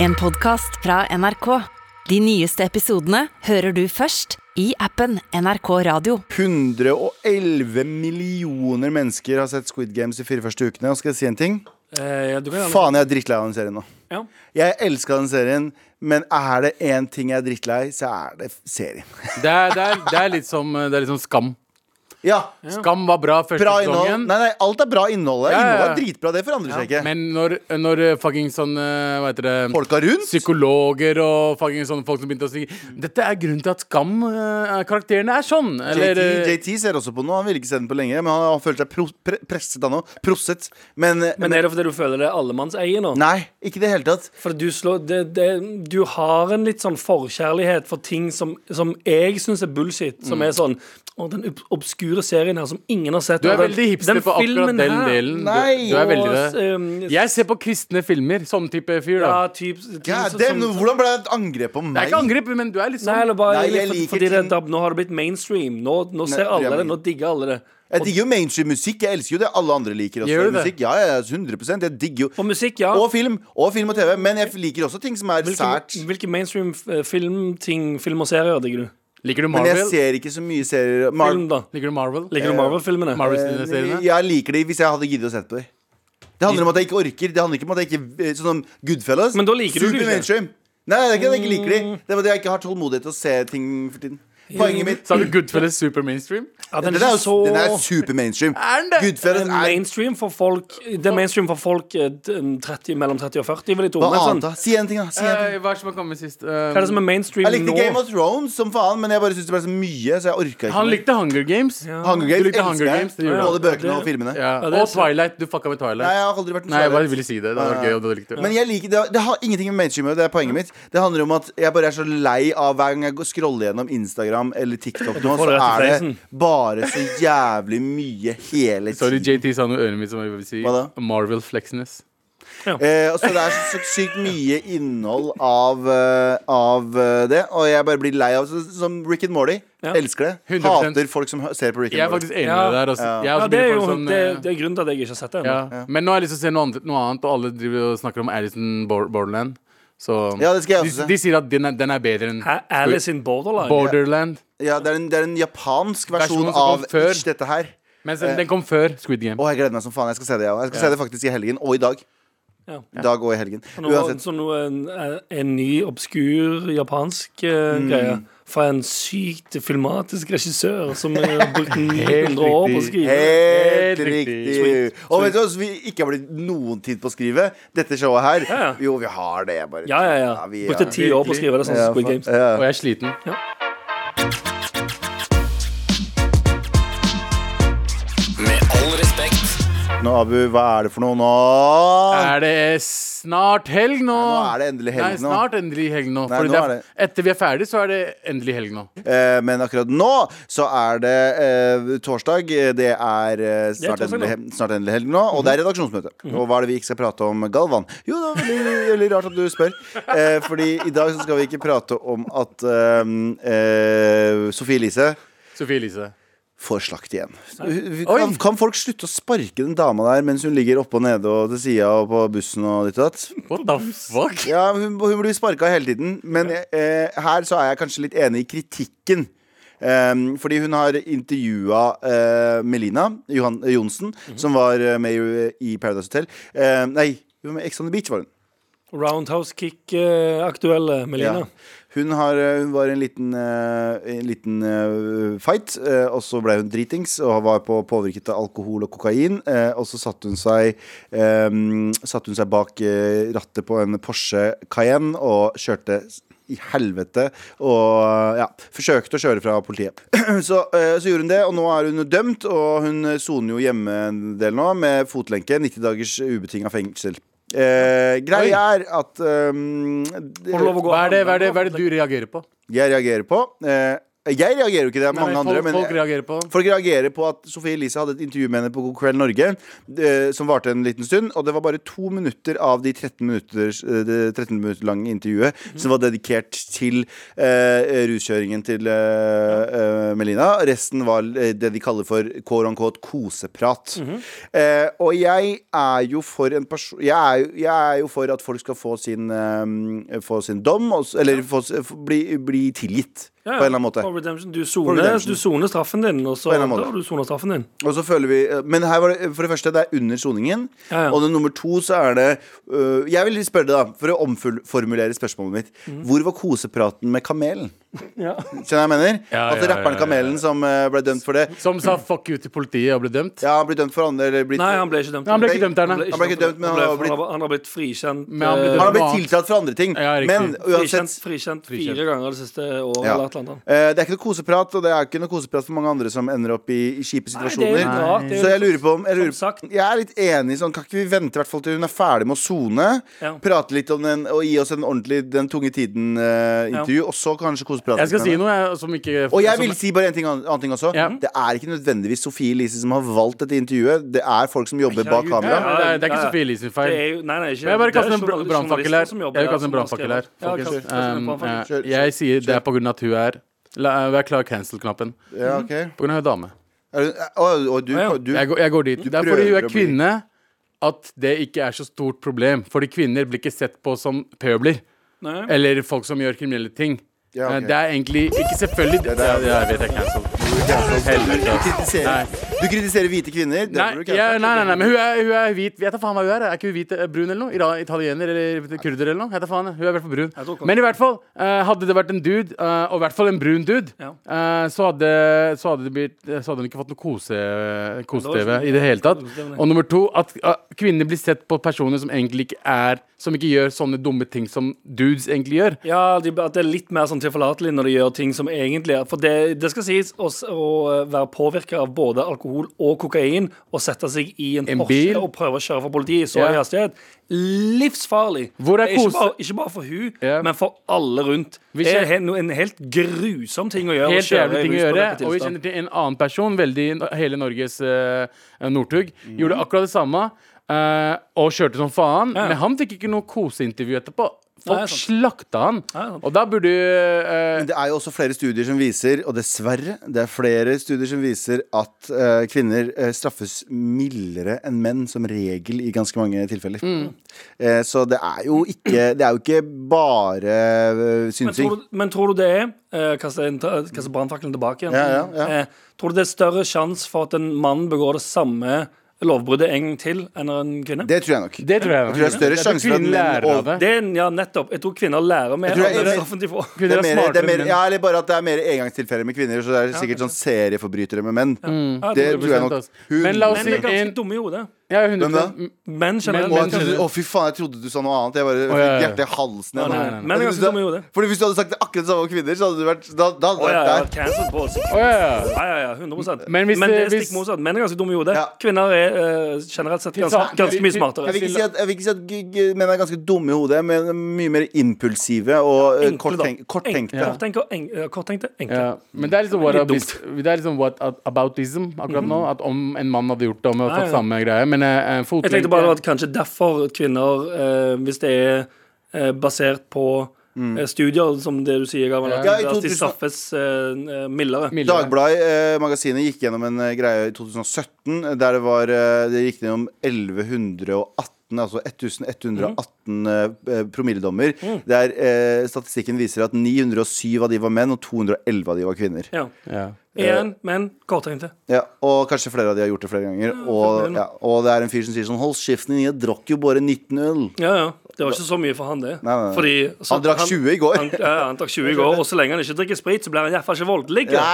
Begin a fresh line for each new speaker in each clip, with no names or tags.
En podcast fra NRK. De nyeste episodene hører du først i appen NRK Radio.
111 millioner mennesker har sett Squid Games de fire første ukene. Og skal jeg si en ting?
Eh, ja, du kan gjerne-
Faen, jeg er drittlei av den serien nå.
Ja.
Jeg elska den serien, men er det én ting jeg er drittlei, så er det serien.
Det er, det, er, det, er litt som, eh, det er litt som skam.
Ja,
Skam var bra første
bra innhold.
sesongen.
Nei, nei, alt er bra innholdet.
Ja, ja, ja.
Innholdet er dritbra, det forandrer seg ikke.
Men når, når fucking sånn eh, Hva heter det?
Folka rundt?
Psykologer og fucking sånne folk som begynte å si Dette er grunnen til at Skam eh, Karakterene er sånn. Eller
JT,
eh,
JT ser også på noe. Han ville ikke se den på lenge, men han har følt seg pro pre presset av noe. Prosset. Men,
Men
men
er det fordi du føler det er allemannseie nå?
Nei, ikke i det hele tatt.
For du, slår, det, det, du har en litt sånn forkjærlighet for ting som, som jeg syns er bullshit. Som er sånn Å, den ob- obskure serien her som ingen har
Mm.
sett.
Du er
og den-
veldig hipster
den
på akkurat
filmen
den
her,
delen.
Nei,
Du, du er veldig
og,
det.
um,
Jeg ser på kristne filmer. Sånn type fyr,
ja,
da.
typ, ting
God
som-
damn,
som-
hvordan ble det et angrep på
Det
meg?
er ikke angrep, men du er litt
Nei,
sånn
eller bare
Nei, jeg
litt for-
liker
fordi det,
ting-
da, Nå har det blitt mainstream. Nå, nå ser alle det. Nå digger alle det.
Jeg digger jo mainstream musikk. Jeg elsker jo det alle andre liker. også
Gjør du det?
Musikk, ja, ja, 100% Jeg digger jo
Og musikk, ja.
Og film. Og film og TV. Men jeg liker også ting som er sært.
Hvilke, hvilke mainstream eh, filmting, film og serier digger du?
Liker du
Men jeg
Marvel?
ser ikke så mye serier. Mar
Film, da.
Liker du Marvel?
Liker du Marvel-filmene?
Marvel
Eh,
sine seriene?
jeg liker de hvis jeg hadde giddet å sette på dem. Det handler om at jeg ikke orker. Det handler ikke om at jeg ikke eh, Sånn som Goodfellas.
Men da liker du Mm. det
Super
ikke.
mainstream. Nei, det er ikke at jeg ikke liker de. Det er at jeg ikke har tålmodighet til å se ting for tiden. Poenget mitt
Sa du Goodfellas super mainstream?
Ja,
den
den,
er,
er
jo-
ikke så
den er super mainstream.
Er den det?
Det
Goodfellas
er
er
mainstream for folk Det er mainstream for folk eh, d- 30, mellom 30 og 40, vil jeg tro.
Hva
Men sånn,
annet, da? Si en ting, da. Si en ting.
Eh, hva er det som har kommet sist?
hva er det som er
Jeg
mainstream
likte
nå?
Game of Thrones som faen, men jeg bare syntes det ble så mye, så jeg orka ikke.
Um, Han
mer.
likte Hunger Games.
Ja.
Hunger
Du
Games
likte Hunger
elsker jeg.
Games, det gjorde
Både
han.
bøkene
Ja,
og
det-
filmene.
Ja.
Ja, det er
Og
sant.
Twilight. Du fucka med Twilight.
Nei, jeg har aldri vært noe
Nei, jeg bare
særlig.
ville si det. Det hadde vært gøy om du hadde likt det.
Men jeg liker, det, det har ingenting med mainstream å gjøre, det er poenget mitt. Det handler om at jeg bare er så lei av hver gang jeg går- scroller gjennom Instagram eller TikTok nå,
får
så
det rett i
er det
fleisen.
bare så jævlig mye hele
Sorry,
tiden.
JT sa noe i øret mitt som jeg vil si.
Hva da?
Marvel flexness.
Eh, og så det er så sykt mye innhold av, eh, av eh, det, og jeg bare blir lei av det. Så- Som Rick and Morty.
Ja.
Elsker det.
100%.
Hater folk som hø- ser på Rick
Jeg er
and
faktisk
Morty.
enig
Ja.
med deg der. Altså. Jeg er
Ja,
også
det er
begynt å
jo
få en sånn,
det,
eh,
det er grunnen til at jeg ikke har sett det ennå.
ja. Men nå har jeg lyst til å se noe annet, noe annet og alle driver og snakker om Alice in Bor- Borderland. Så
Ja, det skal jeg også
de,
se.
de sier at den er, den er bedre enn
Hæ? Alice in Borderline?
Borderland.
Ja, det, er en, det er en japansk versjon
Versjonen som kom
av
før.
ish, dette her.
Mens den, den kom før Squid Game.
Å, jeg gleder meg som faen. Jeg skal se det, jeg også. Jeg skal se det faktisk i helgen. Og i dag.
Ja.
I dag og i helgen.
Noe,
Uansett.
så noe, en, eh, en ny, obskur japansk eh,
Mm.
greie fra en sykt filmatisk regissør som eh, har brukt 900 år på å
riktig.
skrive.
Helt
Helt riktig.
riktig. Og vet du hva vi ikke har blitt noen tid på å skrive? Dette showet her.
Ja, ja.
Jo, vi har det. Bare.
Ja, ja, ja.
vi
Brukte
har-
ti år på å skrive det sånn
Ja,
som Squid Games.
faen. Ja.
Og jeg er sliten.
Med all respekt.
Nå, Abu, hva er det for noe nå?
Er det snart helg nå?
Nei, nå er det endelig helg
Nei,
nå.
snart endelig helg nå.
Nei, nå
Fordi det
er
er, Etter vi er ferdig, så er det endelig helg nå.
Eh, Men akkurat nå så er det eh, torsdag. Det er eh, snart,
torsdag
endelig, he- snart endelig helg nå, Mhm. og det er redaksjonsmøte. Og hva er det vi ikke skal prate om, Galvan? Jo, det var veldig, veldig rart at du spør. Eh, Fordi i dag så skal vi ikke prate om at eh, eh, Sofie Elise
Sofie Elise.
får slakt igjen.
Oi!
Kan, kan folk slutte å sparke den dama der mens hun ligger oppe og nede og til sida og på bussen og ditt og datt?
What the fuck?
Ja, hun, hun blir sparka hele tiden, men eh, her så er jeg kanskje litt enig i kritikken. Ehm, fordi hun har intervjua eh, Melina Johan, eh, Johnsen, som var eh, med i, i Paradise Hotel. Eh, nei, hun var med i Ex on the Beach, var hun.
Roundhouse kick-aktuelle, Melina.
Ja. Hun, har, eh, hun var i en liten, eh, en liten eh, fight, eh, og så ble hun dritings og var på påvirket av alkohol og kokain. eh, og så satte hun seg, eh, satte hun seg bak eh, rattet på en Porsche Cayenne og kjørte s- i helvete og ja, forsøkte å kjøre fra politiet. så, eh, så gjorde hun det, og nå er hun dømt, og hun soner jo hjemme en del nå med fotlenke. 90 dagers ubetinga fengsel. Eh, Greia er at eh, det-
Får du lov å gå
Hva er det,
andre
hva er det,
på
hva er det du reagerer på?
jeg reagerer på eh, Jeg reagerer jo ikke, det er mange
Nei,
andre.
folk,
Men
folk reagerer på
Folk reagerer på at Sofie Elise hadde et intervju med henne på God kveld Norge, eh, som varte en liten stund. Og det var bare to minutter av de 13 minutter, eh, det 13 minutter lange intervjuet som var dedikert til eh, ruskjøringen til eh, eh, Melina. Resten var eh, det de kaller for quote unquote koseprat. eh, og jeg er jo for en person jeg, er jo- jeg er jo for at folk skal få sin, eh, få sin dom, og s- eller få, s- få- bli, bli tilgitt.
Ja, ja.
På en eller annen måte.
For redemption. Du
For
soner,
redemption.
du soner straffen din, og så
På en eller annen måte.
da har du sonet straffen din.
Og så føler vi Men her var det for det første det er under soningen.
Ja, ja.
Og det nummer to så er det øh, Jeg vil spørre deg, da, for å omformulere spørsmålet mitt.
Mhm.
Hvor var kosepraten med kamelen? Skjønner jeg hva jeg mener?
Ja,
altså
ja,
rapperen
ja, ja, ja.
Kamelen som øh, ble dømt for det.
Som sa fuck you til politiet og ble dømt.
Ja, han ble dømt for andre eller blitt,
Nei,
han,
han ble ikke dømt.
Nei, han ble ikke dømt, Erne.
Han ble ikke dømt, men han har
ble- han har- han har blitt frikjent.
Men han ble
eh,
dømt.
har blitt
Noe annet.
tiltalt for andre ting.
Ja, riktig.
men uansett
frikjent, frikjent
Frikjent.
fire ganger det siste året.
ja.
Eller et eller annet.
Eh, Det er ikke noe koseprat, og det er ikke noe koseprat for mange andre som ender opp i, i kjipe
Nei, det
situasjoner.
er jo bra. Det er jo-
Så jeg lurer på om jeg, lurer,
Som sagt.
jeg er litt enig sånn, Kan ikke vi vente i hvert fall til hun er ferdig med å sone?
Ja.
Prate litt om den og gi oss en ordentlig Den tunge tiden-intervju, og så kanskje koseprate.
Jeg skal
med
si
henne.
noe jeg, som ikke
Og jeg vil
som,
si bare en ting, an- annen ting også.
Ja.
Det er ikke nødvendigvis Sofie Elise som har valgt dette intervjuet. Det er folk som jobber bak
ja,
Herregud,
kamera.
men det, er, det er
Ja,
ikke
ja.
Sofie Elise sin
Det
feil.
er jo, nei, nei, ikke,
Men jeg bare
det er
kaster en
journal-
br- brannfakkel her.
journalister som
Jeg
jobber
vil
der,
kaste en
som har skrevet.
brannfakkel her.
Ja, kast-
folkens.
kast en
Um,
brannfakkel.
Kjør,
eh, Jeg sier det
kjør.
er på grunn av at hun er La, Vær klar cancel-knappen.
Ja, ok
På grunn av hun er dame.
er du, og, og du,
Ja, ja.
du
Jeg går, jeg går dit. Det er
prøver
fordi hun
å
er
bli-
kvinne at det ikke er så stort problem. Fordi kvinner blir ikke sett på som pøbler.
Nei.
Eller folk som gjør kriminelle ting.
Ja, ok.
Eh, Det er egentlig ikke selvfølgelig
det er-
Ja, jeg vet jeg er cancelled. Helvete. altså.
Du kritiserer, du kritiserer hvite kvinner. Det
Nei,
blir du
ja,
cancelled.
nei, nei, nei, men hun er, hun er hvit. Jeg tar faen hva hun er. Er ikke hun hvit, eh, brun eller noe? Ira- Italiener eller kurder eller noe? Jeg tar faen, Hun er i hvert fall
tror
brun.
ikke-
Men i hvert fall, eh, hadde det vært en dude, eh, og i hvert fall en brun dude,
Ja.
eh, så, hadde, så, hadde det blitt, eh, så hadde hun ikke fått noe kose, kose-TV
ikke-
i det hele tatt.
Kose-TV, nei.
Og nummer to, at eh, kvinner blir sett på personer som egentlig ikke er Som ikke gjør sånne dumme ting som dudes egentlig gjør.
Ja, de, at det er litt mer sånn tilforlatelig når de gjør ting som egentlig er For det, det skal sies å, s- å eh, være påvirka av både alkohol og kokain og sette seg i en,
En
Porsche
bil.
og prøve å kjøre for politiet i så
Ja.
høy hastighet. Livsfarlig.
Hvor er
Det ikke,
kose-
bare, ikke bare for hun,
Ja.
men for alle rundt.
Vi
det
kjen-
er he- no- en helt grusom ting å gjøre.
Helt
å kjøre
jævlig ting å
i
gjøre.
ruspåvirket
Og vi
tilstand.
kjenner til en annen person, veldig i hele Norges eh, Northug, gjorde akkurat det samme eh, og kjørte som faen.
Mhm. Ja.
Men han fikk ikke noe koseintervju etterpå. Folk
Nei, sant.
slakta han.
Ja, sant.
og da burde eh,
Men det er jo også flere studier som viser, og dessverre, det er flere studier som viser at eh, kvinner eh, straffes mildere enn menn som regel i ganske mange tilfeller. Eh, så det er jo ikke, det er jo ikke bare eh,
Men tror,
synsing.
du, men tror du det er eh, Kaste en- kaste brannfakkelen tilbake igjen.
Ja, ja, ja.
Eh, tror du det er større sjanse for at en mann begår det samme lovbruddet en gang til enn en kvinne?
Det tror jeg nok.
Det tror jeg.
Jeg tror det er større
Jeg tror
sjanse for at
kvinner
menn
lærer av
over-
det.
Det er, en- ja, nettopp. Jeg tror kvinner lærer mer
tror
av
jeg-
den straffen de får.
Det
Kvinner
er
er
mer, det
smartere
er mer, ja,
enn menn.
eller bare at det er mer engangstilfeller med kvinner, så det er sikkert sånn serieforbrytere med menn. Det
Ja, det-
tror jeg nok.
ass. Men la oss
Menn er
si
ganske
en
dumme i hodet.
Ja, 100
Hvem
Menn generelt.
Å,
Men-
Menn
jeg trodde,
generelt.
å, fy faen, jeg trodde du sa noe annet. Jeg bare
Å,
fikk
ja, ja.
hjertet i halsen.
Nei,
igjen.
nei, nei. Men det er ganske dumme i hodet.
Fordi Hvis du hadde sagt akkurat det samme om kvinner, så hadde du vært Da, da hadde du
Å, ja, ja,
vært der.
cancel på oss.
Å, ja, ja.
Ja, ja, ja, 100
Men hvis
det er
det- hvis-
stikk motsatt. Menn er ganske dumme i hodet.
Ja.
Kvinner er eh, generelt sett ganske, ganske mye
Jeg
smartere.
vil, ikke si at, jeg vil ikke si at g- g- menn er ganske dumme i hodet, men mye mer impulsive og eh,
Enkle, da.
korttenk,
Enk-
korttenkte.
Korttenkte, og en- eh, korttenkte, enkle.
ja, men det er liksom what,
Litt
abis, det er liksom what ab- aboutism akkurat nå.
Mhm.
At om en mann hadde gjort det, om han hadde
Ja,
fått
ja.
samme greie. Men eh, eh,
Jeg
fotlenke
tenkte bare at kanskje derfor at kvinner, eh, hvis det er eh, basert på eh, studier, som det du sier, Galvan, at,
Mm. Ja, i
at de
2000
straffes eh, mildere.
mildere.
Dagbladet eh, magasinet gikk gjennom en eh, greie i 2017 der det var eh, Det gikk gjennom 1118 Altså 1118 eh, promilledommer.
Mm.
Der eh, statistikken viser at 907 av de var menn, og 211 av de var kvinner.
Ja.
Ja.
Igjen,
Eh,
men korttenkte.
Ja, og kanskje flere av de har gjort det flere ganger. Og, ja, og det er en fyr som sier sånn Hold kjeften din, jeg drakk jo bare 19 øl.
Ja, ja. Det var ikke så mye for han, det.
Nei, nei, nei.
Fordi, så-
Han drakk 20 i går.
Han, ja, ja, han drakk 20 i går, og så lenge han ikke drikker sprit, så blir han iallfall ikke voldelig.
ja.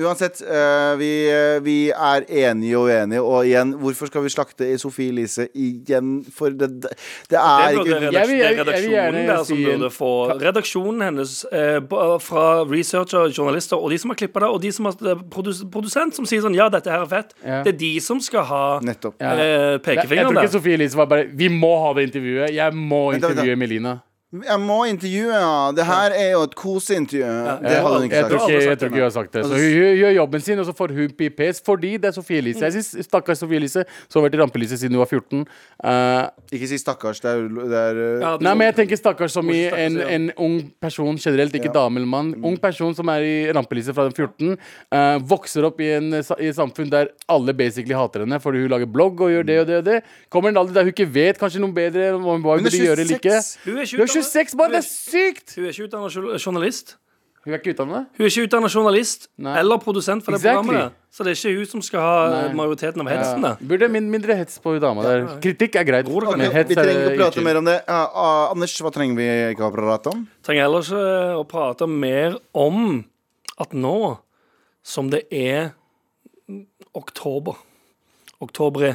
Uansett, eh, vi, eh, vi er enige og uenige. Og igjen, hvorfor skal vi slakte i Sofie Elise igjen? For det, det, det
Det
er
burde
ikke
Jeg vil- jeg- jeg vil
redaksjonen
gjerne
der som
si en-
burde få Redaksjonen hennes eh, ba- fra researcher, journalister og de som har klippa det, og de som har det er produs produsent som sier sånn Ja, dette her er fett.
Ja.
Det er de som skal ha
Nettopp.
Ja.
eh,
Jeg tror
pekefingeren
ikke
der.
Sofie Elise var bare Vi må ha det intervjuet. Jeg må
Vent da, vent da.
intervjue Melina.
Jeg må intervjue, ja. Det her er jo et koseintervju. Det hadde hun ikke
Jeg tror
sagt.
ikke,
aldri
jeg tror
sagt det,
ikke
nei.
jeg har sagt det. Så hun hun gjør jobben sin, og så får hun PPS fordi det er Sofie Elise. Jeg synes Stakkars Sofie Elise, som har vært i rampelyset siden hun var 14. Eh,
Ikke si stakkars. Det er, det er eh,
Ja, sånn.
Nei, men jeg tenker stakkars som i
Stakkars,
en,
ja.
en ung person generelt, ikke
Ja. Mm.
dame eller mann. Ung person som er i rampelyset fra den 14, eh, vokser opp i, en, sa- i et samfunn der alle basically hater henne fordi hun lager blogg og gjør det og det og det. Kommer en alder der hun ikke vet kanskje noe bedre enn hva hun
Hun er
burde gjøre eller ikke.
26.
Hun er ikke
Du er 26 bare, det er sykt!
Hun er ikke utdannet jour- journalist.
Hun er ikke utdannet.
Hun er ikke utdannet journalist
Nei.
eller produsent for det
Exactly.
programmet. Så det er ikke hun som skal ha
Nei.
eh, majoriteten av hetsen.
Ja.
da.
Burde min, mindre hets på hun dama der. Kritikk er greit,
Bror, kan
men
jeg-
hets
Vi
er
trenger ikke å prate
ikke.
mer om det. Ja, ah, Anders, hva trenger vi ikke å prate om?
Trenger heller ikke eh, å prate mer om at nå som det er oktober Oktobre.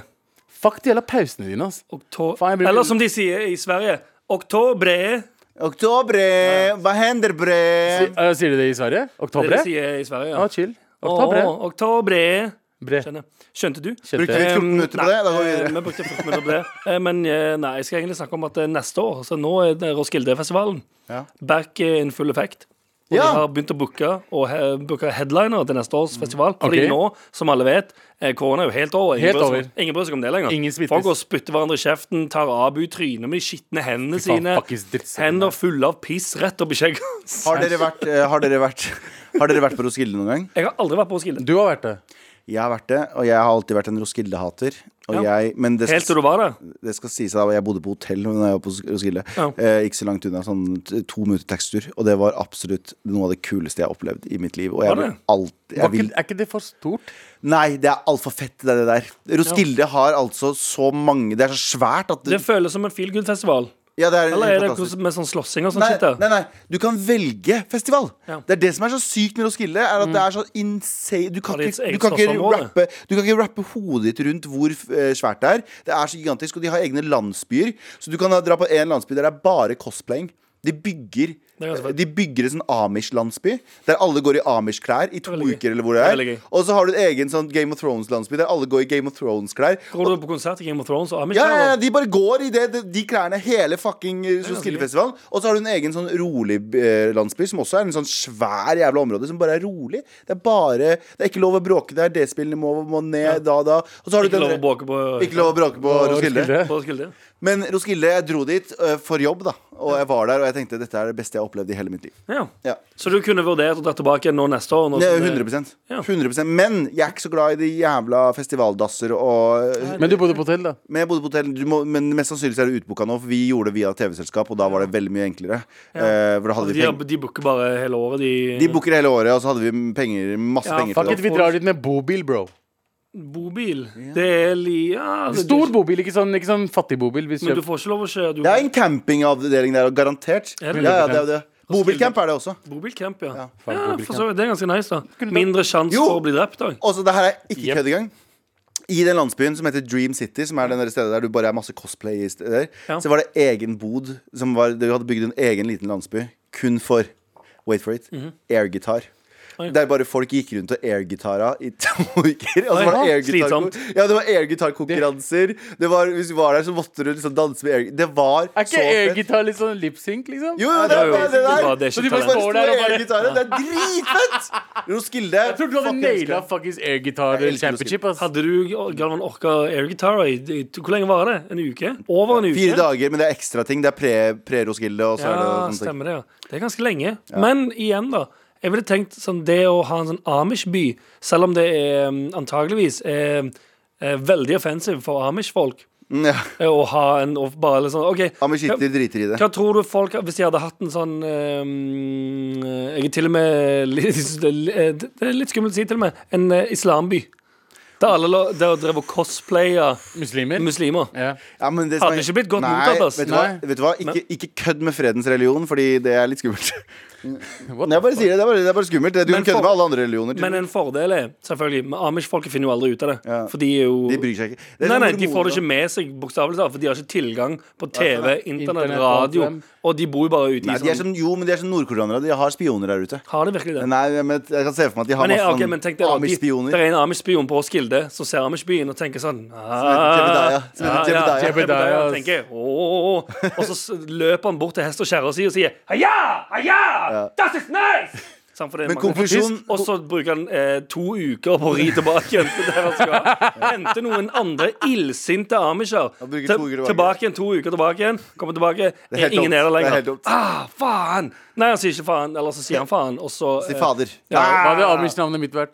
Fuck de jævla pausene dine, ass.
Okto-
Faen, jeg blir-
Eller som de sier i Sverige, oktobre.
Oktobre! Hva hender, bre?
Si- eh, Sier de det i Sverige?
Det
Oktober?
de sier i Sverige.
Ja,
Ja.
chill.
Oktobre.
Oktober.
oktobre.
Bre.
Skjønner. Skjønte du?
Brukte vi
Kjente.
14
Em,
minutter på
nei,
det? Da går vi
eh,
videre.
vi brukte 14 minutter på det. Eh, Men eh, nei, jeg skal egentlig snakke om at eh, neste år, så nå er det Roskildefestivalen
Ja.
back eh, in full effect. Og
Ja.
de har begynt å booke og he- booke headliner til neste års festival.
Ok.
Fordi nå, som alle vet, eh, korona er jo helt over. Ingen
Helt
bryr seg-
over.
Ingen bryr seg om det lenger.
Ingen smittes.
Folk går og spytter hverandre i kjeften, tar abu i trynet med de skitne hendene
faen,
sine.
fuckings drittsekker.
Hender fulle av piss rett opp i skjegget.
Har dere vært, eh, har dere vært, har dere vært på Roskilde noen gang?
Jeg har aldri vært på Roskilde.
Du har vært det.
Jeg har vært det, og jeg har alltid vært en Roskilde-hater. Og jeg, men det
Helt til
skal,
du var der.
det skal sies at jeg bodde på hotell da jeg var på Roskilde.
Ja.
Eh, ikke så langt unna. Sånn t- to minutter tekstur. Og det var absolutt noe av det kuleste jeg har opplevd i mitt liv. Og jeg
Var
vil
det?
alt
Var
jeg
ikke,
vil,
er ikke det for stort?
Nei, det er altfor fett, det der. Roskilde har altså så mange Det er så svært at
Det føles som en feel good-festival.
ja, det er
Eller er det
fantastisk.
hvordan- med sånn slåssing og sånn
Nei,
shit? der?
nei, nei, du kan velge festival.
Ja. Mm.
Det er det som er så sykt med Roskilde. Er at det er så insane Du kan
Har de et
ikke, du
eget
kan ikke,
slåssområde?
rappe, du kan ikke rappe hodet ditt rundt hvor eh, svært det er. Det er så gigantisk, og de har egne landsbyer. Så du kan da dra på en landsby der det er bare cosplaying. De bygger
Det er ganske fett.
de bygger en sånn Amish-landsby der alle går i Amish-klær i to
veldig gøy.
uker. eller hvor det
Det er
er
veldig gøy.
Og så har du en egen sånn Game of Thrones-landsby der alle går i Game of Thrones-klær.
Går du på konsert i Game of Thrones og Amish?
Ja, ja, ja,
eller?
de bare går i det, de- de klærne hele fucking eh,
ganske
Roskildefestivalen. Og så har du en egen sånn rolig eh, landsby, som også er en sånn svær jævla område, som bare er rolig. Det er bare Det er ikke lov å bråke der. D-spillene må, må ned da da. Og så har du
Ikke
den-
lov å bråke på
Ikke lov å bråke på Roskilde.
på Roskilde.
Men Roskilde, jeg dro dit eh, for jobb, da. Og jeg var der, og jeg tenkte dette er det beste jeg har opplevd i hele mitt liv.
Ja.
Ja.
Så du kunne vurdert å dra tilbake nå neste år? Nå,
Det er
som det-
100,
Ja.
100 Men jeg er ikke så glad i de jævla festivaldasser og eh,
Men du bodde på hotell, da.
Men jeg bodde på hotell, du må, men mest sannsynlig så er det utbooka nå, for vi gjorde det via TV-selskap, og da var det veldig mye enklere. Eh, for da hadde
Altså, de,
vi
har-
penger.
de booker bare hele året, de.
De booker hele året, og så hadde vi penger, masse
Ja,
penger
Fuck
til
it,
det.
vi drar dit med bobil, bro.
bobil. Det er li... Ja, det-
Stor bobil, ikke sånn, ikke sånn fattig bobil. Vi
Men du
kjøper.
får ikke lov å kjøre. Du,
Det er en campingavdeling der, og garantert. Ja,
Er det?
ja, det er jo det. Bobilcamp er det også.
Bobilcamp, ja. Ja,
Faen, bobilcamp.
for så vidt. Det er ganske nice, da. Mindre sjanse
Jo.
for å bli drept òg.
Og så Altså, det her er ikke
Jep.
kødd engang. I den landsbyen som heter Dream City, som er den der stedet der du bare er masse cosplay i steder,
Ja.
så var det egen bod som var Du hadde bygd en egen liten landsby kun for Wait for it. Airgitar.
Oi.
Der bare folk gikk rundt og airgitara i to uker. Og så
Oi,
var det
ja.
airgitar-
Slitsomt.
ja, det var airgitarkonkurranser. Det var, hvis du var der, så måtte du liksom danse med airgitar. Det var
Er
så
ikke
fett.
airgitar litt sånn lipsync, liksom?
Jo, jo, det,
det
er
er jo-
det, det
det var-
der.
det er
Så
ikke
de bare
talent.
står der og bare airgitarer. Det er dritfett! Roskilde.
Jeg tror du hadde naila fuckings airgitar
Jeg elsker
championship. Ass.
Hadde du Galvan orka airgitar i, i Hvor lenge varer det? En uke? Over en uke?
Fire dager, men det er ekstra ting. Det er pre- pre-Roskilde. og så er det
Ja,
sånne ting.
stemmer det. ja Det er ganske lenge. Men igjen, da. Jeg ville tenkt sånn det å ha en sånn Amish-by, selv om det er, mm, antageligvis er, er veldig offensive for Amish-folk
Mm, ja.
eh, å ha en og bare litt sånn OK.
Amishitter
hva-
driter i det.
Hva tror du folk Hvis de hadde hatt en sånn eh, mm, Jeg er til og med litt- Det er litt- det er litt skummelt å si, til og med. En eh, islamby. Der alle lå- der drev og cosplaya
Muslimer.
muslimer.
Ja.
Ja, men det
Hadde
som er-
ikke blitt godt
Nei,
mottatt, ass.
Vet du hva?
Nei.
Vet du hva? Ikke, ikke kødd med fredens religion, fordi det er litt skummelt.
What
Jeg bare sier det, det er bare, det er bare skummelt. Du kan
Men
kødde
for-
med alle andre religioner. til-
Men en fordel er selvfølgelig men Amish-folket finner jo aldri ut av det.
Ja.
For de er jo
de bryr seg ikke. Det er sånn
Nei,
som Altså,
nei, de får det
mormoner.
ikke med seg, bokstavelig talt, for de har ikke tilgang på TV, internett,
Internett og alt
radio.
dem.
Og de bor jo bare ute
Nei,
i
de er
sånn
som, jo, men de er som nordkoreanere. De har spioner der ute.
Har de virkelig det?
Nei, men jeg kan se for meg at de har
Men, jeg,
masse
ok, men tenk deg da, de,
sånn Amish-spioner.
Det er en Amish-spion på bildet, så ser Amish-byen og tenker sånn "Ah,
Jebediah. Som heter Jebediah.
Jebediah,
Jebediah.
tenker jeg, «Åh». Og så s- løper han bort til hest og kjerra si og sier Heia! Heia! Das is nice! Samt for det er
Men
mange-
konklusjonen-
Og så bruker han eh, to uker på å ri tilbake igjen til der han skal. Hente noen andre illsinte amisher.
bruker
Til-
to uker tilbake.
tilbake igjen, to uker tilbake igjen. Kommer tilbake,
er helt
ingen
dumt. Det
er der
er
lenger.
helt dumt.
ah, faen! Nei, han sier ikke faen. Eller så sier han faen, og så
Si
eh,
fader.
Hva hadde Amish-navnet mitt vært?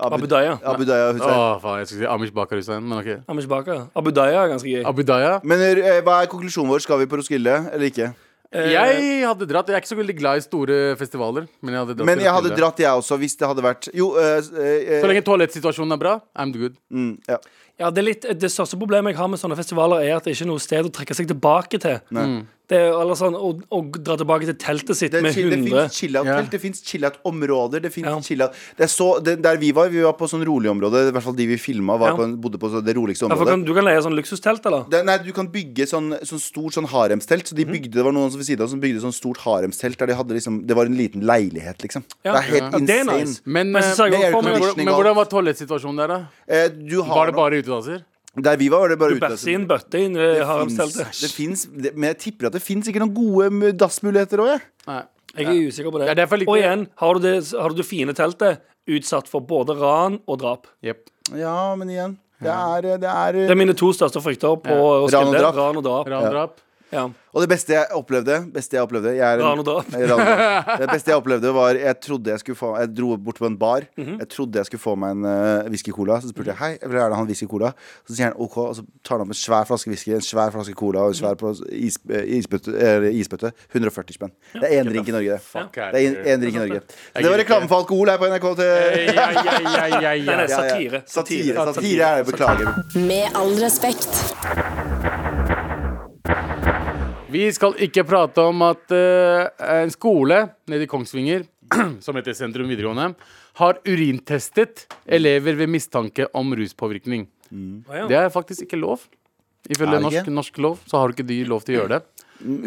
Abu
Abudaya. Ah.
Abu Daya
Å,
Hussein.
faen, jeg skulle si Amish Bakar Hussein, men ok.
Amish Baka. Abu Daya er ganske gøy.
Abudaya.
Men eh, hva er konklusjonen vår? Skal vi på Roskilde eller ikke? Eh.
Jeg hadde dratt. Jeg er ikke så veldig glad i store festivaler. Men jeg hadde dratt.
Men
til
jeg hadde
Roskilde.
dratt, jeg også, hvis det hadde vært Jo, eh, eh,
Så lenge toalettsituasjonen er bra, I'm good.
mm, ja.
Ja, det, er litt, det største problemet jeg har med sånne festivaler, er at det ikke er noe sted å trekke seg tilbake til.
Mm.
Det er, eller sånn, å, å dra tilbake til teltet sitt
Det, er
med
chill- det fins
100
chill-out-telt, det fins chill-out-områder. Det finnes
Ja.
chill-out Det er så, det, Der vi var, vi var på sånn rolig område. I hvert fall de vi filma, var
Ja.
på en, bodde på så- det roligste
ja, for
området.
kan, Du kan leie sånn luksustelt, eller?
Det, nei, du kan bygge sånn, sånn stort sånn haremstelt. Så de
Mm.
bygde, det var noen som ved siden av som bygde sånn stort haremstelt der de hadde liksom Det var en liten leilighet, liksom.
Ja.
Det er helt
Ja, det er
insane.
nice.
Men,
Men så sa jeg
eh,
det er
også for
men,
meg
jo
hvordan- men hvordan var toalettsituasjonen der, da?
eh, du har
Var det
no-
bare utedasser?
Der vi var, var det bare ute.
Bæsje i en bøtte i eh,
finnes-
haremsteltet.
det finnes- det- men jeg tipper at det fins ikke noen gode m- dassmuligheter òg, jeg.
Nei.
Jeg er usikker på det.
Ja, derfor likte
og
jeg-
igjen, har du, det, har du det fine teltet utsatt for både ran og drap?
Jepp.
Ja, men igjen. Det er, det er
Det er mine to største frykter på
Ja.
Roskilde.
Ran og drap.
Ran og drap.
Randrap.
Ja.
Og det beste jeg opplevde, beste jeg opplevde jeg er en,
Ran og drap.
Ran og drap. Det beste jeg opplevde, var Jeg trodde jeg skulle få Jeg dro bort på en bar. Jeg trodde jeg skulle få meg en uh, whisky cola. Så spurte jeg hei, jeg vil gjerne ha en whisky cola. Så sier han OK, og så tar han opp en svær flaske whisky, en svær flaske cola og en svær plas- is, eh, isbøtte, eller isbøtte. 140 spenn. Det er én drink i Norge, det.
Fuck
Det er en- en drink i Norge. Så det var reklame for alkohol her på NRK. Til
Ja, ja, ja, ja,
Nei,
ja.
nei,
Ja, ja.
satire.
Satire, satire er det. Beklager.
Med all respekt.
Vi skal ikke prate om at eh, en skole nede i Kongsvinger, som heter Sentrum videregående, har urintestet elever ved mistanke om ruspåvirkning.
Å, ja.
Det er faktisk ikke lov.
Mm. Er
Ifølge
det
norsk,
ikke?
norsk lov så har ikke de lov til å gjøre det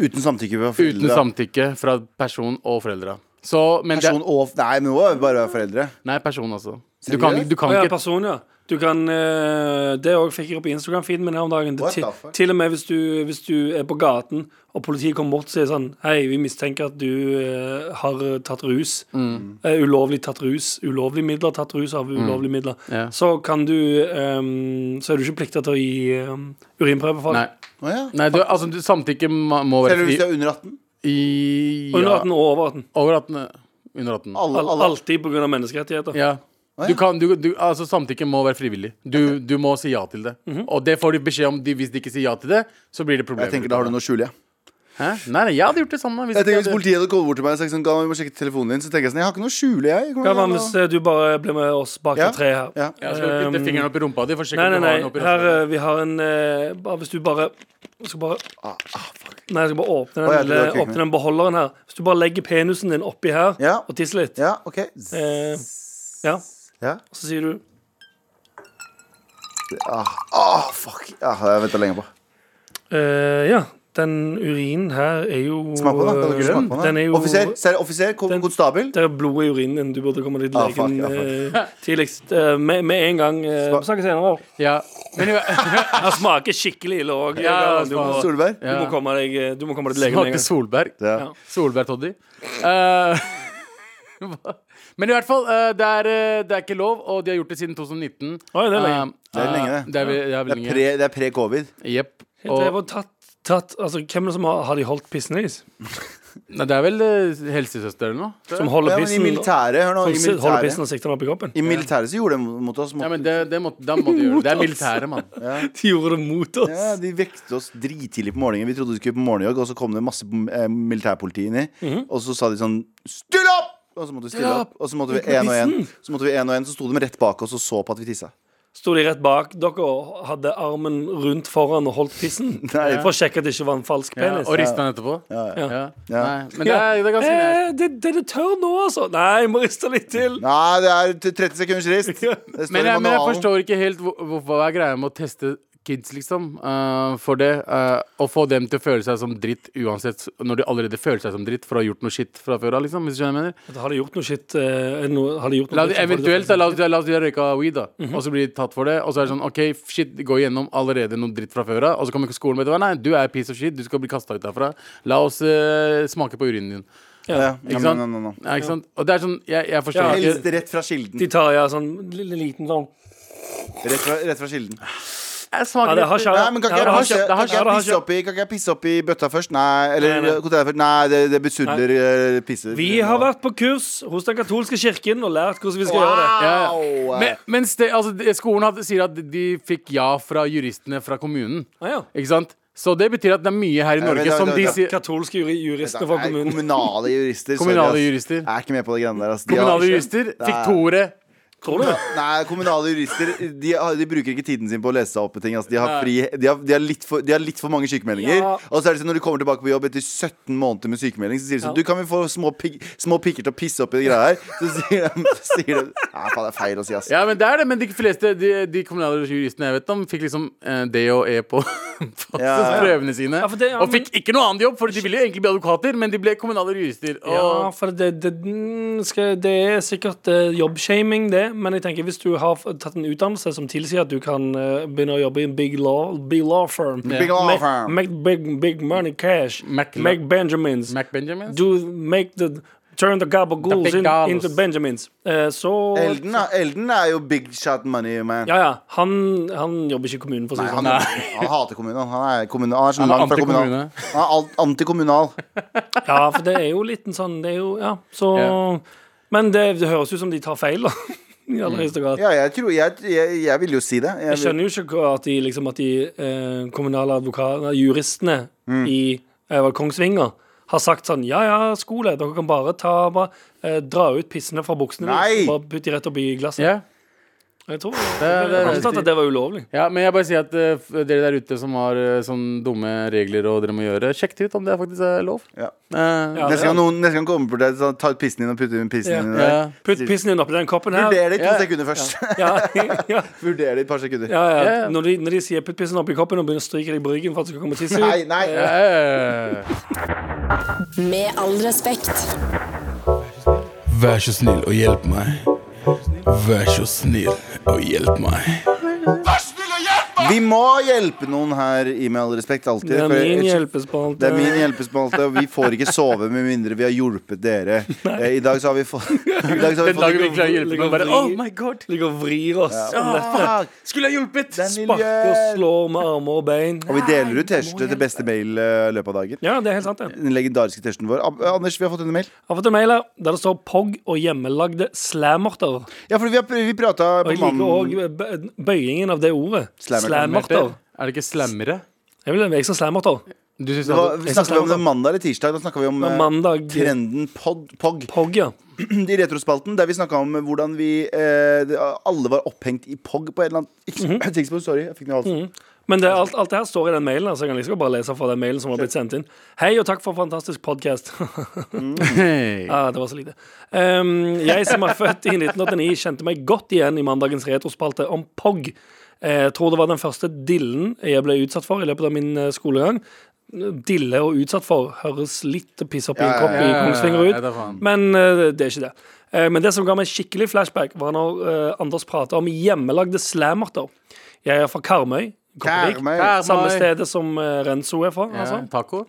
Uten samtykke fra foreldre.
uten samtykke fra person og foreldre. Så, men
Person
det,
og Nei, men nå er vi bare foreldre.
nei, person, altså. Du kan,
Seriøst?
du kan
Å ja,
ikke
person, ja. Du kan, eh, det òg fikk jeg opp i Instagram-feeden min her om dagen. Det,
What
ti-
the fuck?
til og med hvis du, hvis du er på gaten, og politiet kommer bort og sier sånn Hei, vi mistenker at du eh, har tatt rus.
Mm.
Eh, ulovlig tatt rus. Ulovlige midler tatt rus av ulovlige midler.
Ja.
Så kan du eh, Så er du ikke plikta til å gi eh, urinprøve for
Nei.
det.
Å ja.
nei du, altså, du, samtykke må må være
Selv hvis du
fri-
er under 18?
i
Under
ja,
18 og over 18.
Over 18. Under 18.
Alle,
Al-
alle.
Alltid pga. menneskerettigheter.
Ja.
ja.
Du kan, du, du, altså, samtykke må være frivillig. Du, du må si ja til det. Og det får de beskjed om de, hvis de ikke sier ja til det. Så blir det problemer.
Mhm. Jeg tenker Da har du noe å skjule. jeg.
Hæ? Nei, nei, jeg hadde gjort det samme. Hvis
Jeg tenker Hvis
ikke jeg hadde-
politiet hadde kommet bort til meg og sagt sånn, «Galvan, vi må sjekke telefonen din, så tenker jeg sånn Jeg har ikke noe å skjule, jeg. Kom
Hva
igjen,
med
da.»
hvis eh, du bare blir med oss bak
Ja.
det treet her?
Ja.
jeg skal putte
Um,
fingeren opp i rumpa di. For å sjekke
Nei,
om
nei,
du har den opp i
nei. Her,
rumpa.
eh, vi har en eh, bare, Hvis du bare Jeg skal bare
Ah,
Nei, jeg skal bare åpne den,
Å, ja, du
lille,
har klikket.
åpne den beholderen her. Hvis du bare legger penisen din oppi her
Ja.
og tisser litt,
ja, OK.
eh, ja,
Ja.
så sier du
Ah, ah, fuck. Ah, det har jeg venta lenge på.
eh, Ja, den urinen her er jo
Smak på den. da. Kan du ikke
eh,
smake på den?
den er jo
Offiser, ser, offiser ko-
Den-
konstabel.
Det er blod i urinen din. Du burde komme deg til
Ah, fuck,
legen
ja, fuck.
eh, tidligst. Eh, med, med en gang. eh,
Smak-
Vi snakkes senere.
Ja. Men,
Han smaker skikkelig ille òg.
Ja,
du, må- du
Solbær.
ja.
må komme deg eh, Du må komme deg til legen med en
Smaker
gang.
solbær.
Ja.
Ja.
Solbær-toddy. Eh, hva? Men i hvert fall, eh, det er, eh, det er ikke lov, og de har gjort det siden 2019.
Oi, det er lenge.
Eh,
Det er lenge, det.
Det er, ve- det er
Det er
veldig lenge.
pre- det er pre-covid.
Jepp.
Det
Og,
var tatt, tatt Altså, hvem er det som har, har de holdt pissen deres?
nei, det er vel eh, helsesøster eller noe?
Som holder
Ja, men I
pissen
militæret, hør nå.
Som
I
sit- holder
militæret,
pissen altså. og sikter den opp i kroppen?
I militæret så gjorde de mot oss. Mot,
Ja, men det, det må, da må du gjøre det. Det er militæret, mann.
De gjorde det mot oss.
Ja, De vekte oss drittidlig på morgenen. Vi trodde vi skulle på morgenjogg, og så kom det masse eh, militærpoliti inni.
Mhm.
Og så sa de sånn Still opp! Og så måtte vi stille
Ja,
opp. Og så måtte vi
ut med
en og en
tissen.
Så måtte vi en og en, så sto de rett bak oss og så på at vi tissa.
Sto de rett bak dere og hadde armen rundt foran og holdt pissen?
Nei.
For å sjekke at det ikke var en falsk
Ja,
penis?
og rista han etterpå.
Ja.
Ja.
Ja.
Nei, men det er, det er ganske nært.
eh, det, det, det tør nå, altså. Nei, jeg må riste litt til.
Nei, det er t- 30 sekunders rist. Det står i
Men jeg, men jeg
manualen.
forstår ikke helt hvor, hvor, hva er greia med å teste kids, liksom, eh, for det. eh, og få dem til å føle seg som dritt uansett, når de allerede føler seg som dritt for å ha gjort noe shit fra før av, liksom. Hvis du skjønner hva jeg mener.
Har de gjort noe shit? eh, no- har de gjort noe
La de,
dritt, så får de
eventuelt
det-
da,
sånn. Mhm.
la oss la oss si de røyka weed, da. Og så blir de tatt for det. Og så er det sånn OK, shit, gå igjennom allerede noe dritt fra før av. Og så kommer skolen med det. Nei, du er piece of shit. Du skal bli kasta ut derfra. La oss eh, smake på urinen din.
Ja, ja,
Ikke sant?
no, no, no, no.
Ja, ikke sant? Og det er sånn Jeg, jeg forstår
Ja,
ikke
Helst rett fra kilden.
De tar ja, sånn lille, liten sånn
Rett fra, rett fra kilden.
Jeg smaker
Ja, det har
litt-
skjedd.
Nei, men kan ikke
Ja, det
jeg
har
pisse-
skjedd.
kan ikke
Ja, det
jeg
har
pisse
skjedd.
opp i- kan ikke jeg pisse opp i bøtta først? Nei, eller
Nei, nei.
konteineren først? Nei, det, det besudler eh, pisser.
Vi har vært på kurs hos den katolske kirken og lært hvordan vi skal gjøre det.
Ja,
Au.
ja. Men, mens det, altså, det- skolen hadde, sier at de fikk ja fra juristene fra kommunen.
Ah, ja.
Ikke sant? Så det betyr at det er mye her i Norge
vent,
som
vent,
de
vent.
sier
Katolske juri- juristene fra
Nei,
kommunen.
Kommunale jurister. sorry,
Kommunale
ass.
jurister.
Jeg er ikke med på det greiene der. ass. De har
Kommunale
ikke-
jurister fikk
Nei.
toere.
Tror du?
Nei, kommunale jurister de, har- de bruker ikke tiden sin på å lese seg opp på ting. ass. De, har fri, de, har, de, har litt for, de har litt for mange sykemeldinger.
Ja.
Og så er det sånn, når du kommer tilbake på jobb etter 17 måneder med sykemelding, så sier de sånn
Ja.
Du, kan vi få små, pik, små pikker til å pisse opp i det greia her? Så sier de, så sier de Nei, faen, det er feil å si, ass.
Ja, men det er det. Men de fleste de, de kommunale juristene jeg vet om, fikk liksom eh, D og E på, på
Ja, ja.
prøvene sine.
for det- ja,
og fikk ikke noe annen jobb, for de ville jo egentlig bli advokater, men de ble kommunale jurister. Og
Ja, for det, det, mm, skal, det er sikkert eh, jobbshaming, det. Men jeg tenker hvis du har f- tatt en utdannelse som tilsier at du kan eh, begynne å jobbe i en big law, big law firm
Big law
Make-
firm.
Make, big, big money cash.
Mac-
make Benjamins.
Mac Benjamin?
Do make the Turn the gabagools
big
in,
gallows.
into Benjamins. Eh, så
Elden, da. Elden er jo big shot money man.
Ja, ja. Han, han jobber ikke i kommunen, for å si
Nei,
det sånn.
han, han hater kommunen. Han er, kommune, han er sånn
Han er
langt fra kommunal.
antikommunal.
Han er alt- antikommunal.
Ja, for det er jo litt en sånn Det er jo, ja, så
Ja.
Men det, det høres ut som de tar feil, da. I
Mm.
aller høyeste grad.
Ja, jeg tror Jeg, jeg, jeg vil jo si det.
Jeg
vil-
skjønner jo ikke hva- at de, liksom, at de eh, kommunale advokatene, juristene
Mm.
i eh, hva, Kongsvinger, har sagt sånn Ja, ja, skole, dere kan bare ta bare, eh, dra ut pissene fra buksene
Nei!
deres og bare putte de rett oppi glasset.
Ja.
Jeg tror
det-
jeg antatt at det var ulovlig.
Ja, men jeg bare sier at eh, f- dere der ute som har eh, sånne dumme regler og dere må gjøre, sjekk det ut om det faktisk er lov.
Ja.
Eh,
Ja, det-
Neste gang noen neste gang kommer på deg, så ta ut pissen din og putt den pissen
Ja.
din
ja.
der.
Putt pissen din oppi den koppen her.
Vurder det i to
Ja.
sekunder først.
Ja, ja,
Vurder det i et par sekunder.
ja, ja.
Ja.
Når, de, når de sier 'putt pissen oppi koppen' og begynner å stryke deg på ryggen for at du skal komme tiss ut
Nei, nei.
Eh,
Med all respekt.
Vær så snill og hjelp meg. Vær så snill og hjelp meg.
Vi må hjelpe noen her, i med all respekt, alltid.
Det er
for
min
ellers-
hjelpespalte.
Det er min hjelpespalte, og vi får ikke sove med mindre vi har hjulpet dere. Eh, I dag så har vi fått I dag så har vi
Den dagen
fått
vi ikke klarer å hjelpe noen, bare Oh my god!
Ligger og vrir oss.
Fuck,
Skulle jeg hjulpet!
den lille
Sparker og
gjøl.
slår med armer og bein.
Og vi deler ut T-skjorte til beste mail eh, i løpet av dagen.
Ja, det er helt sant, det.
Den legendariske T-skjorten vår. Ab- eh, Anders, vi har fått en mail.
Jeg har fått en mail her der det står 'Pog og hjemmelagde slammerter'.
Ja, for vi, har- vi prata
Og
på
jeg liker
mandag
òg bøyingen av det ordet.
Slammerter.
Slammerter.
Er det ikke slammere?
Jeg vil jeg sa slammerter.
Du synes
Det var- Vi
Jeg
snakket
skal
om det mandag eller tirsdag. Da snakka vi om eh,
Mandag.
trenden pod, POG.
Pog, ja.
I Retrospalten, der vi snakka om hvordan vi eh, det- alle var opphengt i POG på et eller annet ikke-
Mhm.
tidspunkt. Sorry, jeg fikk noe i halsen.
Men det, alt, alt det her står i den mailen, så jeg kan liksom bare lese fra den mailen som har blitt sendt inn. Hei og takk for fantastisk podkast.
Hey.
ah, det var så lite. Ehm, jeg som er født i 1989, kjente meg godt igjen i mandagens retrospalte om POG. Eh, Jeg tror det var den første dillen jeg ble utsatt for i løpet av min eh, skolegang. Dille og utsatt for høres litt piss opp i en kopp
ja, ja,
i
ja,
Kongsvinger
ja, det er
ut,
faen.
men eh, det er ikke det. Eh, men det som ga meg skikkelig flashback, var når eh, Anders prata om hjemmelagde slammerter. Jeg er fra Karmøy. Kopervik.
Karmøy.
Samme
Karmøy.
stedet som eh, Renzo er fra.
Ja,
Altså.
taco?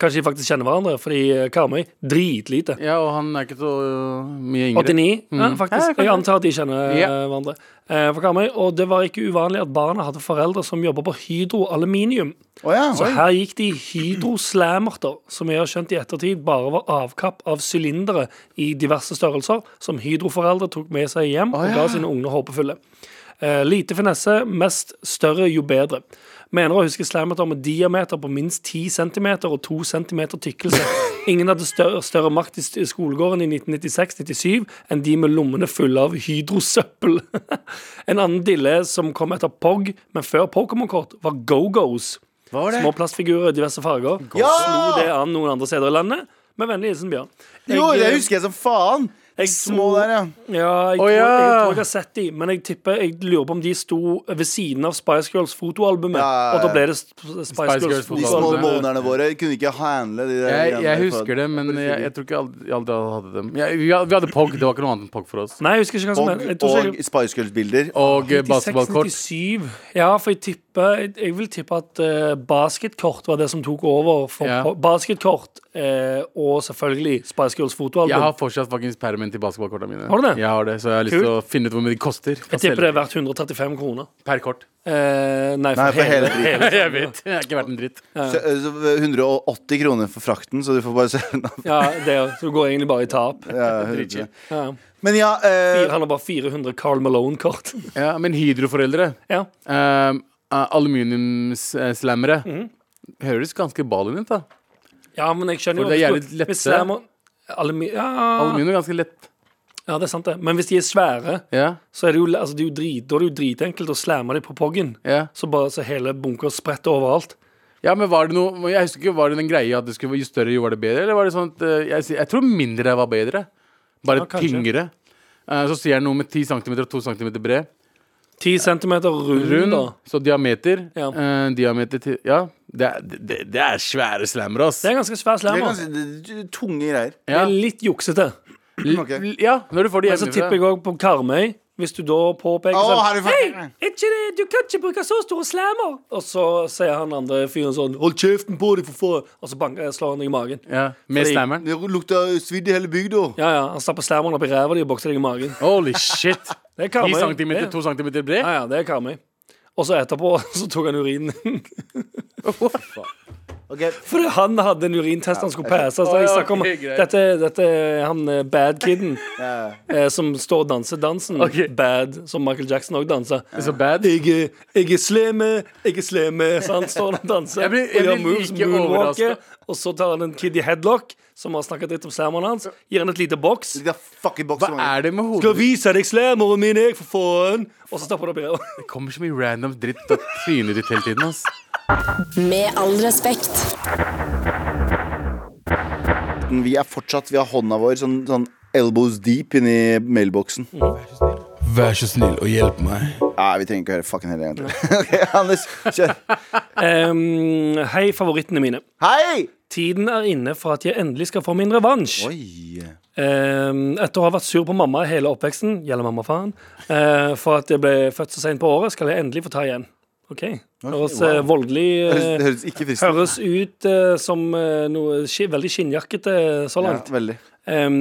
Kanskje de faktisk kjenner hverandre, fordi eh, Karmøy dritlite.
Ja, og han er ikke så øh, mye yngre.
89, ja, faktisk. Jeg antar at de kjenner eh,
Ja.
hverandre. Eh, fra Karmøy, og det var ikke uvanlig at barna hadde foreldre som jobba på Hydro Aluminium.
Å ja.
Så her gikk de i Hydro Slammerter, som jeg har skjønt i ettertid bare var avkapp av sylindere i diverse størrelser, som Hydro-foreldre tok med seg hjem og ga sine unge håpefulle. Eh, lite finesse, mest større jo bedre. Mener å huske slammeter med diameter på minst 10 cm og 2 cm tykkelse. Ingen hadde større, større makt i st- skolegården i 1996-97 enn de med lommene fulle av hydrosøppel. en annen dille som kom etter POG, men før Pokémon-kort, var GoGos. Små plastfigurer i diverse farger.
Ja!
Slo det an noen andre steder i landet. Med vennlig hilsen Bjørn.
Jo, det husker jeg som faen!
Jeg
Små der, ja.
Ja,
Å,
jeg, tror,
ja.
jeg tror jeg har sett de, men jeg tipper Jeg lurer på om de sto ved siden av Spice Girls fotoalbumet,
Ja, ja, ja.
og da ble det Sp- Spice,
Spice Girls
Girls
De små
fotoalbumet.
fotoalbumet.
bonerne våre kunne ikke handle de der
Jeg,
greiene
jeg
der
husker
for-
det, men jeg, jeg tror ikke jeg aldri, jeg aldri hadde dem. Jeg, vi, hadde, vi hadde POG, det var ikke noe annet enn POG for oss.
Nei, jeg husker ikke hva som het. Jeg
Og,
tror
og
sikkert-
Spice Girls-bilder.
Og eh,
96,
basketballkort.
97. Ja, for jeg tipper Jeg, jeg vil tippe at eh, basketkort var det som tok over for
Ja.
po- basketkort, eh, og selvfølgelig Spice Girls fotoalbum.
Jeg har fortsatt fuckings permen til basketballkortene mine.
Har du det?
Jeg har det, Så jeg har lyst til å
Kult.
finne ut hvor mye de koster. Kan
jeg tipper
selge
det er verdt 135 kroner.
Per kort.
Eh, nei, for,
Nei, for hele
hele,
driten.
Jeg vet. Jeg er ikke verdt en dritt.
Så- eh, så 180 kroner for frakten, så du får bare se den opp.
Ja, det, er- så det går egentlig bare i tap.
Ja,
Dritchill.
Ja.
Men ja eh,
Han har bare 400 Carl Malone-kort.
Ja, men Hydro-foreldre,
Ja.
eh, aluminiumslammere,
Mhm.
høres ganske ballin ut, da.
ja, men jeg skjønner
For det er
jo
jævlig lette.
Hvis Slamon- Alumi ja.
Aluminium er ganske lett.
ja, det er sant, det. Men hvis de er svære,
Ja,
så er det jo, altså, det er jo, drit, da er det jo dritenkelt å slamme dem på poggen.
ja.
Så bare så hele bunker spretter overalt.
Ja, men var det noe Jeg husker ikke, var det den greia at det skulle, jo større, jo var det bedre? Eller var det sånn at eh, Jeg, jeg tror mindre var bedre. Bare
Ja, kanskje.
tyngre. Eh, så sier jeg noe med 10 cm og 2 cm bred.
Ti centimeter rund,
Rund,
da.
Mm. så diameter.
Ja.
eh, diameter til Ja. Det er, det, det er svære slammere, ass.
Det er ganske svær
det er
slammer.
ganske det er tunge greier.
Ja.
Det er litt juksete.
ok.
L- ja, når du får det
Men så tipper jeg
hjemmefra.
òg på Karmøy. Hvis du da påpeker
Å,
sånn,
har du fått-
Hei, ikke det, du kan ikke bruke så store slammer! Og så sier han andre fyren sånn Hold kjeften på deg, for faen! Og så banker, slår han deg i magen.
Ja, med
Fordi-
slammeren.
Det lukta svidd i hele bygda.
Ja, ja, Han stapper slammeren opp i ræva di og bokser deg i magen.
Holy shit.
Det er
10
Karmøy.
cm,
Det-
2 cm bred.
Ja, ja, det er Karmøy. Og så etterpå så tok han urinen din.
Ok,
For han hadde en urintest han skulle passe. Så
Å,
jeg
ja,
snakker om
ok, greit.
dette, dette er han eh, bad kiden
ja.
eh, som står og danser dansen.
Ok.
Bad, som Michael Jackson òg danser.
Så bad.
Jeg er, jeg er slemme, jeg er slemme. Så han står og danser.
Jeg blir- jeg
og gjør
blir
moves,
like
moonwalker.
overrasket.
Og så tar han en kid i headlock, som har snakket litt om slammeren hans. Gir han et lite boks.
Det er fucking boks
Hva
i magen.
er det med
Skal
hodet?
vise deg slammeren min, jeg, for faen! Og så stapper han opp i ræva.
Det kommer så mye random dritt og trynet ditt hele tiden, ass.
Med all respekt.
Vi er fortsatt, vi har hånda vår sånn, sånn elbows deep inni mailboksen.
Vær så snill og hjelp meg.
Nei, vi trenger ikke høre fucking hele gjengen. Ok, Anders, kjør.
Em, hei, favorittene mine.
Hei!
Tiden er inne for at jeg endelig skal få min revansj.
Oi.
Ehm, etter å ha vært sur på mamma hele oppveksten, gjelder mamma faen, eh, for at jeg ble født så sent på året, skal jeg endelig få ta igjen. OK. Høres eh, voldelig
Det høres- det
eh,
høres ikke fristende
Høres ut eh, som eh, noe ski, veldig skinnjakkete eh, så
Ja,
langt.
veldig.
Ehm,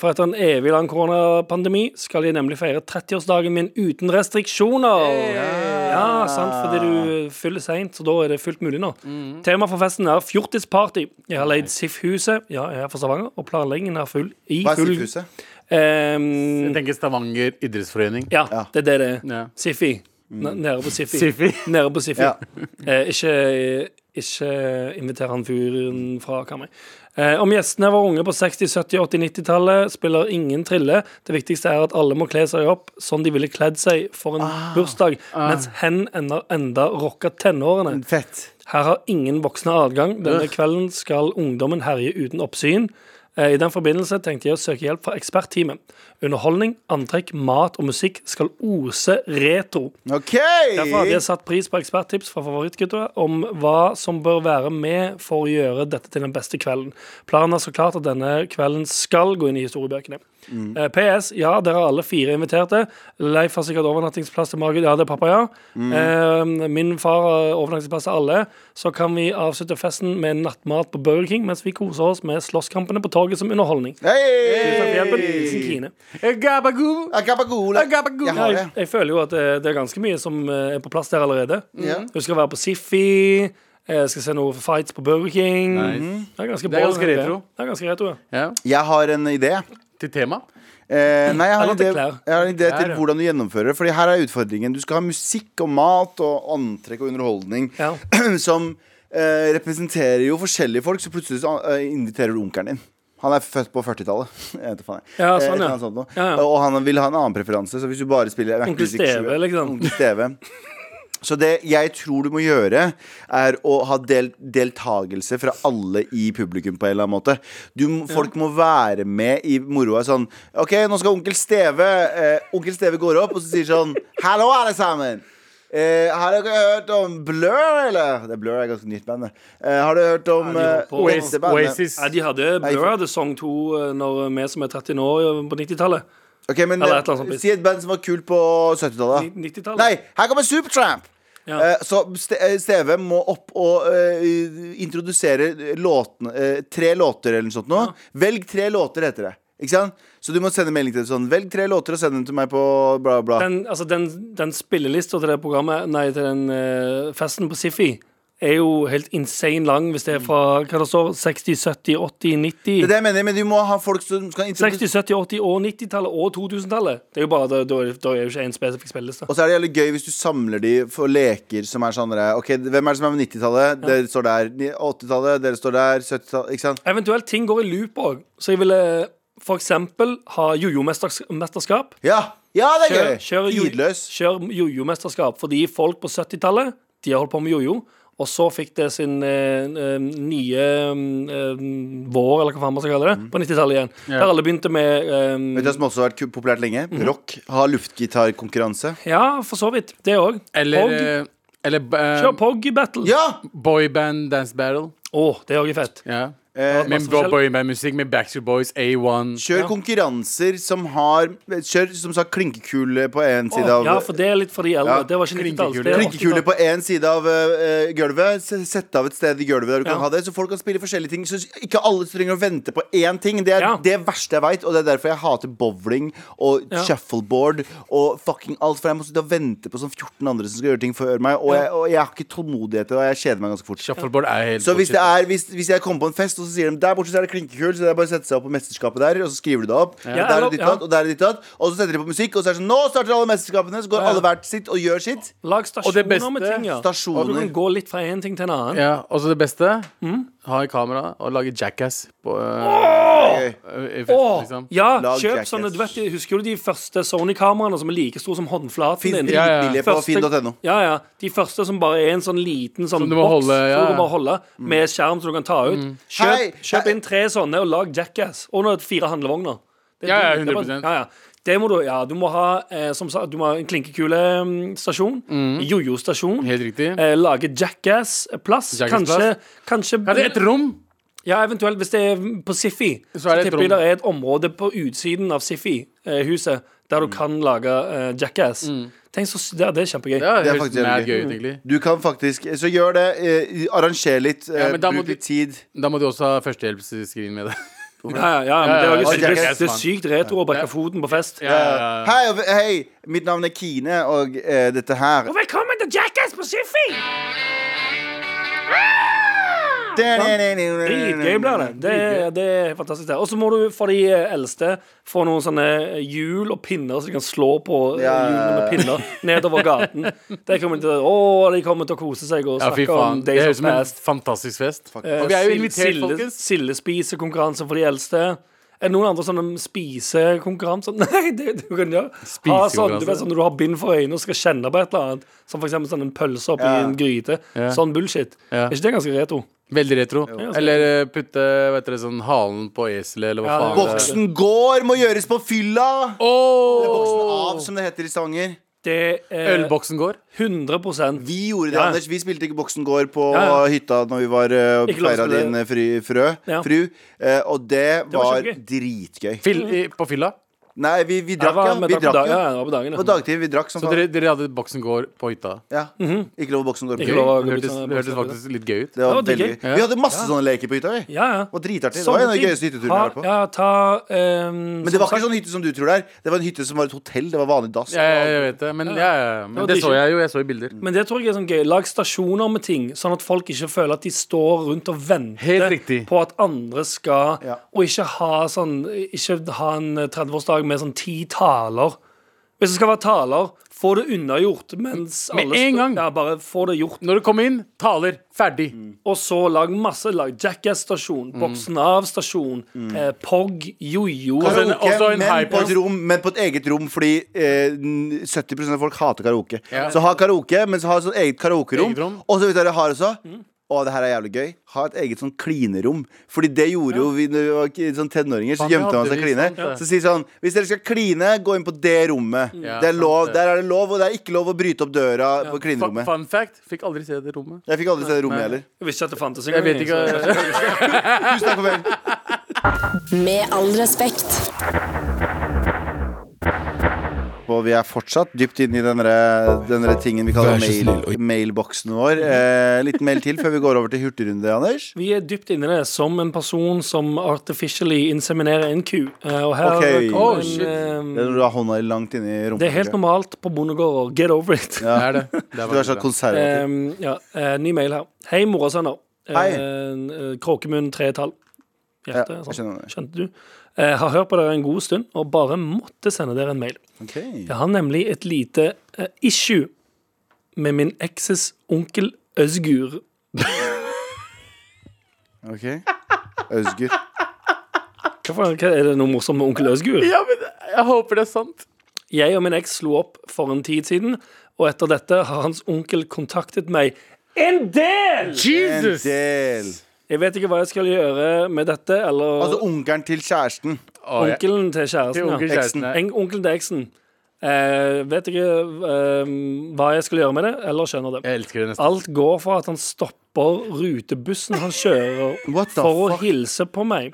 for etter en evig lang koronapandemi skal jeg nemlig feire 30-årsdagen min uten restriksjoner. Ja, sant, fordi du fyller seint, så da er det fullt mulig nå. Tema for festen er fjortisparty. Jeg har leid SIF-huset, ja, jeg er fra Stavanger, og planleggingen er full. I
Hva er
full
stikkhuset?
Ehm,
Jeg tenker Stavanger idrettsforening.
ja, det er det det er.
Ja.
Siffi.
Mm.
N- Nede på Siffi.
Siffi.
Nede på Siffi.
Ja.
Eh, ikke ikke inviter han fyren fra Karmøy. Eh, om gjestene var unge på 60-, 70-, 80-, 90-tallet, spiller ingen trille. Det viktigste er at alle må kle seg opp sånn de ville kledd seg for en bursdag, mens hen ender enda rocka tenårene.
Fett.
Her har ingen voksne adgang. Denne kvelden skal ungdommen herje uten oppsyn. Eh, I den forbindelse tenkte jeg å søke hjelp fra ekspertteamet. Underholdning, antrekk, mat og musikk skal ose retro.
OK!
Derfor hadde jeg satt pris på eksperttips fra favorittgutta om hva som bør være med for å gjøre dette til den beste kvelden. Planen er så klart at denne kvelden skal gå inn i historiebøkene. Eh, PS. Ja, dere er alle fire inviterte. Leif har sikkert overnattingsplass til Margit. Ja, det er pappa, ja. Eh, min far har overnattingsplass til alle. Så kan vi avslutte festen med nattmat på Burger King mens vi koser oss med slåsskampene på torget som underholdning. Tusen takk for hjelpen. Hilsen Kine.
Eh, Gabagool.
Agabagola.
Agabagola.
Jeg har
jeg,
det.
jeg føler jo at det, det er ganske mye som eh, er på plass der allerede.
Ja.
Du skal være på Siffi, eh, skal se noen fights på Burger King.
Nice.
Det er ganske,
Det er
bra,
ganske
tenker jeg.
retro.
Det er ganske retro, ja.
Ja,
Jeg har en idé.
til tema.
Eh, nei, jeg har, en
Eller til
idé,
klær.
jeg har en idé
Klær,
til
ja.
hvordan du gjennomfører det. Fordi her er utfordringen. Du skal ha musikk og mat og antrekk og underholdning
Ja.
som eh, representerer jo forskjellige folk, så plutselig så, eh, inviterer du onkelen din. Han er født på 40-tallet. Jeg vet ikke faen, jeg.
Ja,
Eh,
sånn,
et eller
ja.
annet sånt noe.
Ja, ja.
Og han vil ha en annen preferanse, så hvis du bare spiller
Onkel Steve, liksom.
Onkel Steve. Så det jeg tror du må gjøre, er å ha del deltagelse fra alle i publikum på en eller annen måte. Du, må- folk må være med i moroa. Sånn OK, nå skal onkel Steve eh, Onkel Steve går opp og så sier sånn Hallo, alle sammen! Eh, har dere hørt om Blur, eller? Det er Blur er et ganske nytt band. det. Eh, har du hørt om
Ja, de holdt
eh,
på.
dette bandet?
Oasis.
Nei, de hadde Blur hadde Song 2 eh, når vi som er 13 år eh, på 90-tallet.
Ok, men eh,
Eller et eller annet sånt.
Si et band som var kult på 70-tallet.
Ni- 90-tallet.
Nei, her kommer Supertramp!
Ja.
Eh, så Ste- eh, Steve må opp og eh, introdusere låtene, eh, tre låter eller noe sånt. Nå. Velg tre låter, heter det. Ikke sant? Så du må sende melding til det sånn. Velg tre låter og send dem til meg på bla, bla.
Den, altså, den, den spillelista til det programmet Nei, til den eh, festen på Siffi er jo helt insane lang hvis det er fra hva det står, 60, 70, 80,
Det er
90
det jeg mener, men du må ha folk som kan
60,
introdusere
70, 80 og 90-tallet og 2000-tallet. Det er jo bare, da, da, er- da er jo ikke en spesifikk spilleliste.
og så er det jævlig gøy hvis du samler de for leker som er sånn der, Ok, hvem er det som er på 90-tallet? Dere står der. Ni- 80-tallet, dere står der. 70-tallet, ikke sant?
Eventuelt ting går i loop òg, så jeg ville for eksempel ha jojo-mesterskap.
Ja! Ja, det er
Kjør,
gøy!
kjør, jo-
Tidløs.
kjør jojo-mesterskap. Fordi folk på 70-tallet De har holdt på med jojo. Og så fikk det sin eh, eh, nye eh, vår, eller hva faen man skal kalle det, på 90-tallet igjen. Der alle begynte med eh,
Mm. Vet du hva som også har vært ku- populært lenge?
Mhm.
Rock. Ha luftgitarkonkurranse.
eh, Ja, for så vidt. Det òg.
Eller, eh, eller eh,
Kjør Poggy-battle.
Ja!
boyband dance battle.
Å, det òg er fett.
Ja.
Eh,
Med
masse forskjell.
boybandmusikk med Backstreet Boys, A1.
kjør konkurranser som har Kjør som sagt klinkekule på én side av
ja, for det er litt for de eldre.
Ja,
det var ikke 90-tallet. det er sånn
Klinkekule
80-tallet.
på én side av eh, eh, gulvet. S- Sette av et sted i gulvet der du kan
Ja.
ha det. Så folk kan spille forskjellige ting. Så ikke alle trenger å vente på én ting. Det er
Ja.
det verste jeg veit, og det er derfor jeg hater bowling og
Ja.
shuffleboard og fucking alt. For jeg må sitte og vente på sånn 14 andre som skal gjøre ting før meg, og jeg, og jeg har ikke tålmodighet til det, og jeg kjeder meg ganske fort.
Shuffleboard er helt
Så hvis, det
bullshit.
er, hvis, hvis jeg kommer på en fest, og så sier de der borte så er det klinkekull, så det er bare å sette seg opp på mesterskapet der, og så skriver du det opp. Og, der er
eller-
det ditt,
ja.
datt, og der er det ditt datt, og så setter de på musikk, og så er det sånn Nå starter alle mesterskapene! Så går
Ja.
alle hvert sitt og gjør sitt.
Lag
det beste-
stasjoner med ting, ja. Og du
Stasjoner.
kan gå litt fra én ting til en annen.
ja, Og så det beste?
Mm.
Ha i kamera og lage jackass på eh,
Gøy.
eh, i festen,
Åh,
liksom.
ja,
Lag
kjøp
Jackass.
sånne, du vet, Husker du de første Sony-kameraene som er like store som håndflaten
Fins
din?
ja, ja.
dritbillige på
Første-
finn.no.
Ja, ja. De første som bare er en sånn liten sånn
Som du må
boks
holde, ja,
som du
ja. Mm.
må holde med skjerm som du kan ta ut.
Mm.
Kjøp,
Hei,
kjøp
hei.
inn tre sånne og lag Jackass. Og nå er det fire handlevogner. Det,
Ja, ja,
det er bare-
100%.
ja, ja. Det må du, ja, du må ha eh, som sagt, du må ha en klinkekulestasjon, jojo-stasjon,
Mm. Helt riktig.
eh, lage Jackass-plass.
Jackass-plass.
Kanskje, kanskje
Ja, det er et rom!
ja, eventuelt hvis det er på Siffi. Så,
er det et
tipper jeg
rom.
det er et område på utsiden av Siffi-huset
Mm.
der du kan lage eh, Jackass. Tenk så, s- ja, det er kjempegøy.
Ja, det
er
er
faktisk
faktisk
jævlig
mad gøy,
gøy.
Mm.
ut, egentlig.
Du kan faktisk Så gjør det. Eh, arranger litt. Eh,
Ja, men da må
bruk
du-
litt tid.
Da må du også ha førstehjelpsskrin med deg.
Ja, ja, ja, men det, er
Ja,
jo
ja,
sykt, det,
Jackass,
det er
faen.
sykt retro å brekke foten på fest.
Hei, og- hei, mitt navn er Kine, og eh, dette her
Velkommen til Jackass på Siffi! Dritgøy blir det. Det, er- det er fantastisk. det. Og så må du for de eh, eldste få noen sånne eh, hjul og pinner så de kan slå på eh,
Ja, ja,
hjulene
ja.
med pinner nedover gaten. Det kommer til, å, de kommer til å kose seg og
Ja, fy
snakke om
faen. Det
Days
høres
of
ut som en
Past.
fantastisk fest.
Eh,
Og vi er jo
sild-
invitert,
silde-
folkens.
Sildespisekonkurranse for de eldste. Er det noen andre sånne spisekonkurranser? Nei, det du kan gjøre. Ha sånn, du vet, sånn, når du har bind for øynene og skal kjenne på et eller annet, som for eksempel sånn en pølse oppi
Ja.
en gryte.
Ja.
Sånn bullshit.
Ja.
Er ikke det ganske retro?
Veldig retro. Eller eh, putte vet dere, sånn halen på eselet, eller hva
Ja, det-
faen. det er.
Boksen går, må gjøres på fylla! Eller Boksen av,
Åh!
som det heter i Stavanger.
Det er
Ølboksen går.
100
Vi gjorde det,
Ja.
Anders. Vi spilte ikke Boksen gård på
Ja, ja.
hytta når vi var uh,
Ikke la oss
feira
spille.
din eh, fri, frø,
Ja.
fru. Eh, og det,
var
var,
kjempegøy.
dritgøy.
Fil, i,
Mm.
på fylla.
Nei, vi, vi
Det
drakk,
var
ja.
med
Vi
dag- på
drakk,
dag-
ja.
ja, det var på dagen. ja.
På dagtid. Vi drakk som
Så
faen.
dere, dere hadde boksen går på hytta.
Ja. Ikke lov å Boksen gård på
Mhm. Ikke
hytta.
Gøy.
lov. å gå
Det
ut
hørtes,
sånn
det hørtes
boksen-
faktisk litt gøy
Det
ut.
var
Ja, det
veldig
var
gøy.
gøy.
Vi hadde masse sånne leker på hytta. vi
Ja, ja.
Og dritartig. Det var
Sånne
en av de
ting.
gøyeste hytteturene jeg
Ta-
har vært på.
Ja, ta ehm,
Men det var
som
ikke sånn hytte som du tror det er. Det var en hytte som var et hotell. Det var vanlig dass.
Ja, ja, jeg vet det. Men, ja, ja, ja. men det så jeg jo. Jeg så jo bilder.
Men det tror jeg er sånn gøy. Lag stasjoner med ting, sånn at folk ikke føler at de står rundt og
Helt
venter
riktig.
på at andre skal
Ja.
Og ikke ha sånn Ikke ha en 30-årsdag med sånn ti taler. Hvis det skal være taler, få det unnagjort mens
Med
alle
en
står-
gang.
Ja, bare få det gjort.
Når du kommer inn, taler. Ferdig.
Og så lag masse. Lag Jackass-stasjon,
Mm.
Boksen Av-stasjon, eh, Pog, Jojo
Altså, en-
Karaoke,
også en
men, på
hyper-
et rom, men på et eget rom, fordi eh, n- 70 av folk hater karaoke.
Ja.
Så ha karaoke, men så ha et sånt eget karaokerom.
Eget rom. Mm.
Og så vet dere har også Å, det her er jævlig gøy. Ha et eget sånn klinerom. Fordi det gjorde jo vi når vi var k- sånn tenåringer. Så
Faen, det
gjemte man
hadde
seg
vi,
kline.
sant det. Mm.
Så si sånn Hvis dere skal kline, gå inn på det rommet.
Ja,
det er
sant
lov,
det.
der er det lov, og det er ikke lov å bryte opp døra på
Fun,
klinerommet.
fun fact. Fikk aldri se det rommet.
Jeg fikk aldri se det rommet heller.
Jeg visste ikke at det fantes
Jeg
engang.
vet ikke
så-
Tusen takk for meg.
Med all respekt.
Og vi er fortsatt dypt inne i denne, denne tingen vi kaller
Vær så
mail,
snill, oi.
mailboksen vår. Eh, litt mail til før vi går over til hurtigrunde, Anders.
Vi er dypt inne i det, som en person som artificially inseminerer en ku. Eh, og her
Ok.
kommer
Oh, shit.
en,
Det er
eh,
når du har hånda langt inni rumpa.
det er helt normalt på bondegårder. Get over it.
Ja.
Det er det. Det er
Du er så
faktisk det.
konservativ.
Eh, ja, eh, ny mail her. Hei, mor og sønner. Eh,
Hei.
eh, Kråkemunn tre tall.
Ja,
Hjerte.
jeg
sånn.
skjønner det.
Skjønte du? Eh, har hørt på dere en god stund og bare måtte sende dere en mail.
Ok.
Jeg har nemlig et lite eh, issue med min ekses onkel Øzgur.
ok. Øzgur.
Hva, faen- hva, er det noe morsomt med onkel Øzgur?
Ja, men jeg håper det er sant.
Jeg og min eks slo opp for en tid siden, og etter dette har hans onkel kontaktet meg en del!
En
Jesus!
del.
Jeg vet ikke hva jeg skal gjøre med dette, eller
Altså onkelen til kjæresten.
Å, jeg-
onkelen til
Til
kjæresten.
onkel
ja.
kjæresten, ja.
En, onkelen til eksen. Eh, vet ikke eh, hva jeg skal gjøre med det, eller skjønner det.
Jeg elsker det nesten.
Alt går for at han stopper rutebussen han kjører
What the
for å
fuck?
hilse på meg.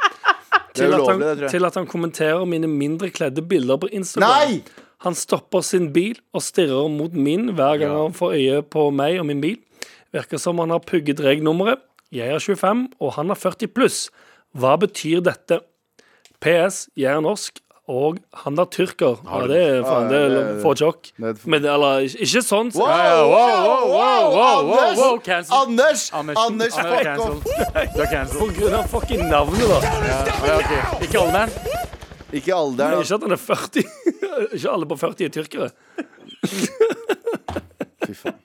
Det
Til
er
at, han,
ulovlig, det, tror jeg.
til at han kommenterer mine mindre kledde bilder på Instagram.
Nei!
Han stopper sin bil og stirrer mot min hver gang han får øye på meg og min bil. Virker som han har pugget reg-nummeret. Jeg er 25, og han er 40 pluss. Hva betyr dette? PS, jeg er norsk, og han er tyrker. Ja, det er faen, det
Ja, ja,
er
ja, ja.
for tjokk.
Det er-
Men det- eller, ikke- ikke sånn.
Wow,
ja, wow, wow, wow, wow, wow,
Anders!
wow, cancel.
Anders!
Anders,
Anders,
Anders er
fuck off!
cancelled. Du er cancelled.
På grunn av fucking navnet, da.
Ja, ok. Ikke alderen.
Ikke alderen.
Ikke at han er 40. Ikke alle på 40 er tyrkere.
Fy faen.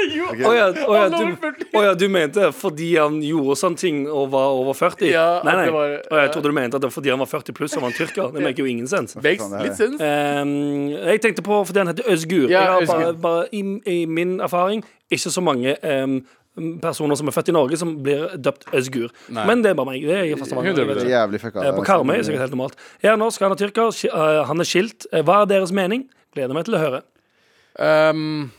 Å ja, å ja,
Han er over
du, å ja, du mente fordi han gjorde sånne ting og var over 40?
Ja,
nei,
at
nei.
det var-
Å, jeg trodde du mente at det var fordi han var 40 pluss og var en tyrker. Det maker jo ingen sens.
Makes
Faen, det er-
litt sens.
Ehm, jeg tenkte på fordi han heter Øzgur.
Ja,
jeg har bare,
Özgür.
bare i, I min erfaring ikke så mange ehm, personer som er født i Norge, som blir døpt Øzgur.
Nei.
Men det er bare meg. Det er fast
100%.
Det er Jævlig fucka. altså.
Eh, På Karmøy er det sikkert helt normalt. Jeg er norsk, han er tyrker, ski- eh, han er skilt. Eh, Hva er deres mening? Gleder meg til å høre.
Um,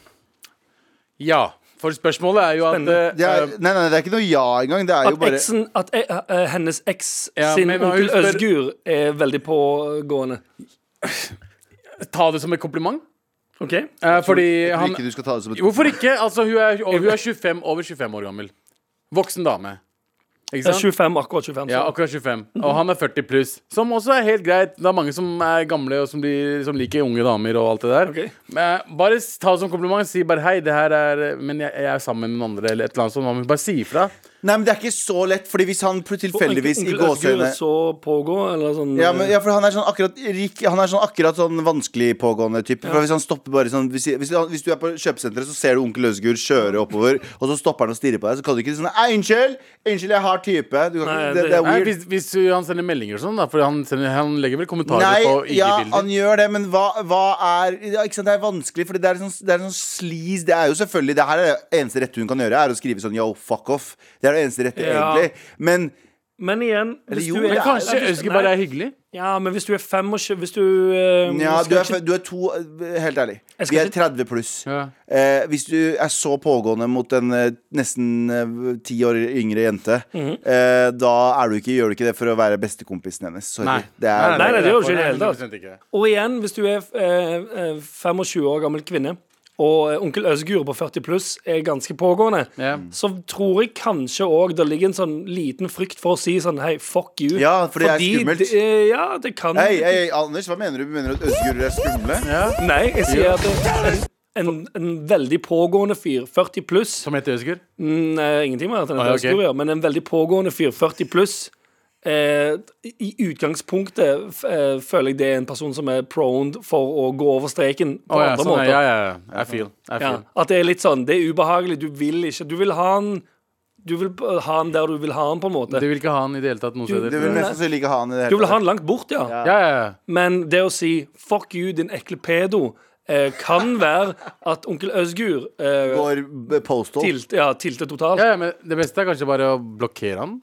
ja. For spørsmålet er jo at
Det
eh,
er, nei, nei, det er ikke noe ja engang. Det er
At,
jo bare
eksen, at eh, eh, hennes eks
Ja,
sin
men hva hun
onkel
spør-
Øzgur er veldig pågående.
eh, Ta det som et kompliment.
OK?
Eh, fordi
Jeg tror
han
ikke du skal ta det som et
Hvorfor ikke? Altså, hun er, og hun er 25, over 25 år gammel. Voksen dame. Ikke
Jeg er
sant?
25, akkurat 25.
Ja,
så.
akkurat 25. Og han er 40 pluss. Som også er helt greit. Det er mange som er gamle og som, blir, som liker unge damer og alt det der.
Ok.
Men bare s- ta det som kompliment. Si bare 'hei, det her er Men jeg, jeg er sammen med noen andre', eller et eller annet sånt. Man må bare si ifra.
Nei, men det er ikke så lett, fordi hvis han pl- tilfeldigvis i
Onkel Øzgur
gåseøyne
er så pågå, eller sånn
ja, men, ja, for han er sånn akkurat rik- Han er sånn akkurat sånn vanskelig pågående type. For Hvis han stopper bare sånn Hvis, hvis, han- hvis du er på kjøpesenteret, så ser du onkel Løsgur kjøre oppover, og så stopper han og stirrer på deg, så kan du ikke si sånn «Ei, Unnskyld! Unnskyld, jeg har type. Du kan
Nei,
ikke, det,
det-
det er
Nei,
weird.
hvis, hvis hun- han sender meldinger og sånn, da. For han, sender, han legger vel kommentarer på
Nei, ja,
IG-bilder.
han gjør det, men hva, hva er ja, ikke sant, Det er vanskelig, for det er sånn, det er sånn sleaze. Det er jo selvfølgelig Det her er det eneste rette hun kan gjøre, er å skrive sånn yo, fuck off. Det er det eneste rette,
Ja.
egentlig. Men
Men igjen hvis
jo,
du
men
er,
Men kanskje
Nei, hvis-
Øzgur bare
nei.
er hyggelig?
Ja, men hvis du er 25 Hvis du eh,
ja,
skal
du er,
ikke-
fø- du er to eh, Helt ærlig.
Jeg
Vi
skal
er
ikke-
30 pluss.
Ja.
Eh, hvis du er så pågående mot en eh, nesten eh, ti år yngre jente,
Mhm.
eh, da er du ikke, gjør du ikke det for å være bestekompisen hennes. Sorry.
Nei.
Det er,
Nei, nei, det gjør jo ikke det hele tatt.
100% ikke.
Og igjen, hvis du er eh, eh, 25 år gammel kvinne, og eh, onkel Øzgur på 40 pluss er ganske pågående,
Ja.
så tror jeg kanskje òg det ligger en sånn liten frykt for å si sånn hei, fuck you.
Ja, for det er skummelt.
det- eh, ja, det kan
Hei, hei, hei, Anders, hva mener du? Mener du at Øzgur er skumle?
Nei, jeg sier at det er en, en, en veldig pågående fyr, 40 pluss
Som heter Øzgur?
mm, eh, Ingenting med at han
Ah, ja,
er
ok.
Øzgur, ja, men en veldig pågående fyr, 40 pluss eh, I utgangspunktet f- eh, føler jeg det er en person som er prone for å gå over streken på
Å, ja,
andre
sånn,
måter.
ja, ja, ja. I feel. I
Ja,
feel.
at det er litt sånn, det er ubehagelig. Du vil ikke Du vil ha han Du vil b- ha han der du vil ha han, på en måte.
Du vil ikke ha han i det hele tatt noe
Du-
sted? liksom?
Du vil mest sannsynlig ikke ha han i det
Du
hele
vil ha han langt bort, ja.
Ja, ja, ja.
Men det å si 'fuck you, din ekle pedo', eh, kan være at onkel Øzgur eh,
Går b- postal.
tilt, ja, tilter totalt.
ja, ja, men det beste er kanskje bare å blokkere han.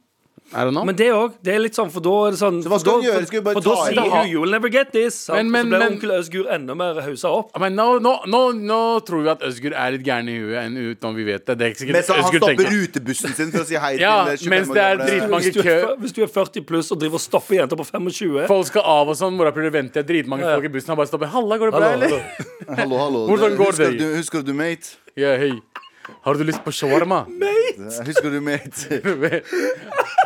Er det nå?
Men det òg. Det er litt sånn, for da er det sånn
Så hva skal
for
hun
da-
gjøre? Skal hun bare
For da
ta i
sier
det?
hun 'you'll never get this', sant?
Men- men-
og så blir
men-
onkel Øzgur enda mer hausa opp.
Men nå, nå, nå, nå tror vi at Øzgur er litt gæren i huet enn uten om vi vet det. Det er ikke
Mens
sikkert
han
Øzgur
stopper
tenker
rutebussen sin for å si hei
Ja,
til eh, 25
mens det er
år gamle-
dritmange-
Hvis du, er,
kø-
fyr- hvis du er 40 pluss og driver og stopper jenter på 25
Folk skal av og sånn. Mora prøver å vente. Dritmange
Ja.
folk i bussen har bare stoppet. Halla, går det bra, eller?
Hallo, hallo.
Hvordan går
husker
det?
Du, husker du mate?
Ja, hei. Har du lyst på shawarma?
Husker du mate?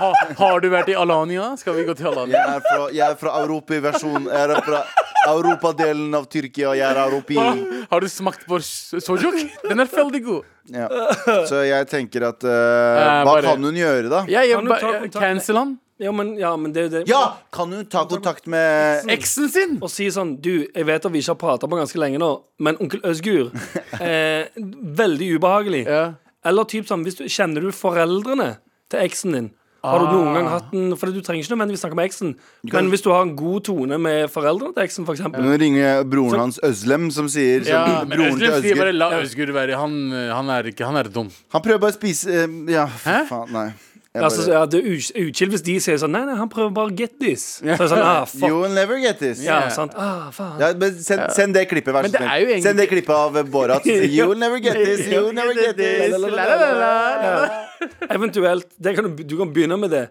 ha, har du vært i Alania? Skal vi gå til Alania?
Jeg er fra, jeg er fra europaversjon. Jeg er fra europadelen av Tyrkia. Jeg er europeer.
Har du smakt på s- sojuk? Den er veldig god.
Ja. Så jeg tenker at eh, Hva
bare-
kan hun gjøre, da?
Jeg, jeg,
Kan du
ba-
ta kontakt med-
cancel han.
Ja, men, ja, men det, det
Ja! Kan hun ta kontakt med
Eksen sin!
Og si sånn Du, jeg vet at vi ikke har prata på ganske lenge nå, men onkel Øzgur eh, Veldig ubehagelig.
Ja.
Eller typ sånn hvis du, Kjenner du foreldrene til eksen din? Har du noen
Ah.
gang hatt en For du trenger ikke nødvendigvis snakke med eksen, men hvis du har en god tone med foreldrene til eksen, for eksempel
Nå ringer jeg broren hans Øzlem, som sier som
Ja, men
broren til
Özgür sier bare
Øzgur.
la Özgür være. Han, eh, han er ikke Han er dum.
Han prøver bare å spise eh, Ja, fy
Hæ?
faen, nei. Jeg
Altså,
Bare,
ja, det er us- uchill hvis de sier sånn Nei, nei, han prøver bare å get this. Så er det sånn, ah, fuck
You'll never get this.
Ja, sant, ah, faen
Ja, men send, send det klippet, vær så
Men det
snill.
er jo egentlig-
Send det klippet av eh, Borat. You'll never get this, you'll never get this.
Eventuelt det kan du, du kan begynne med det.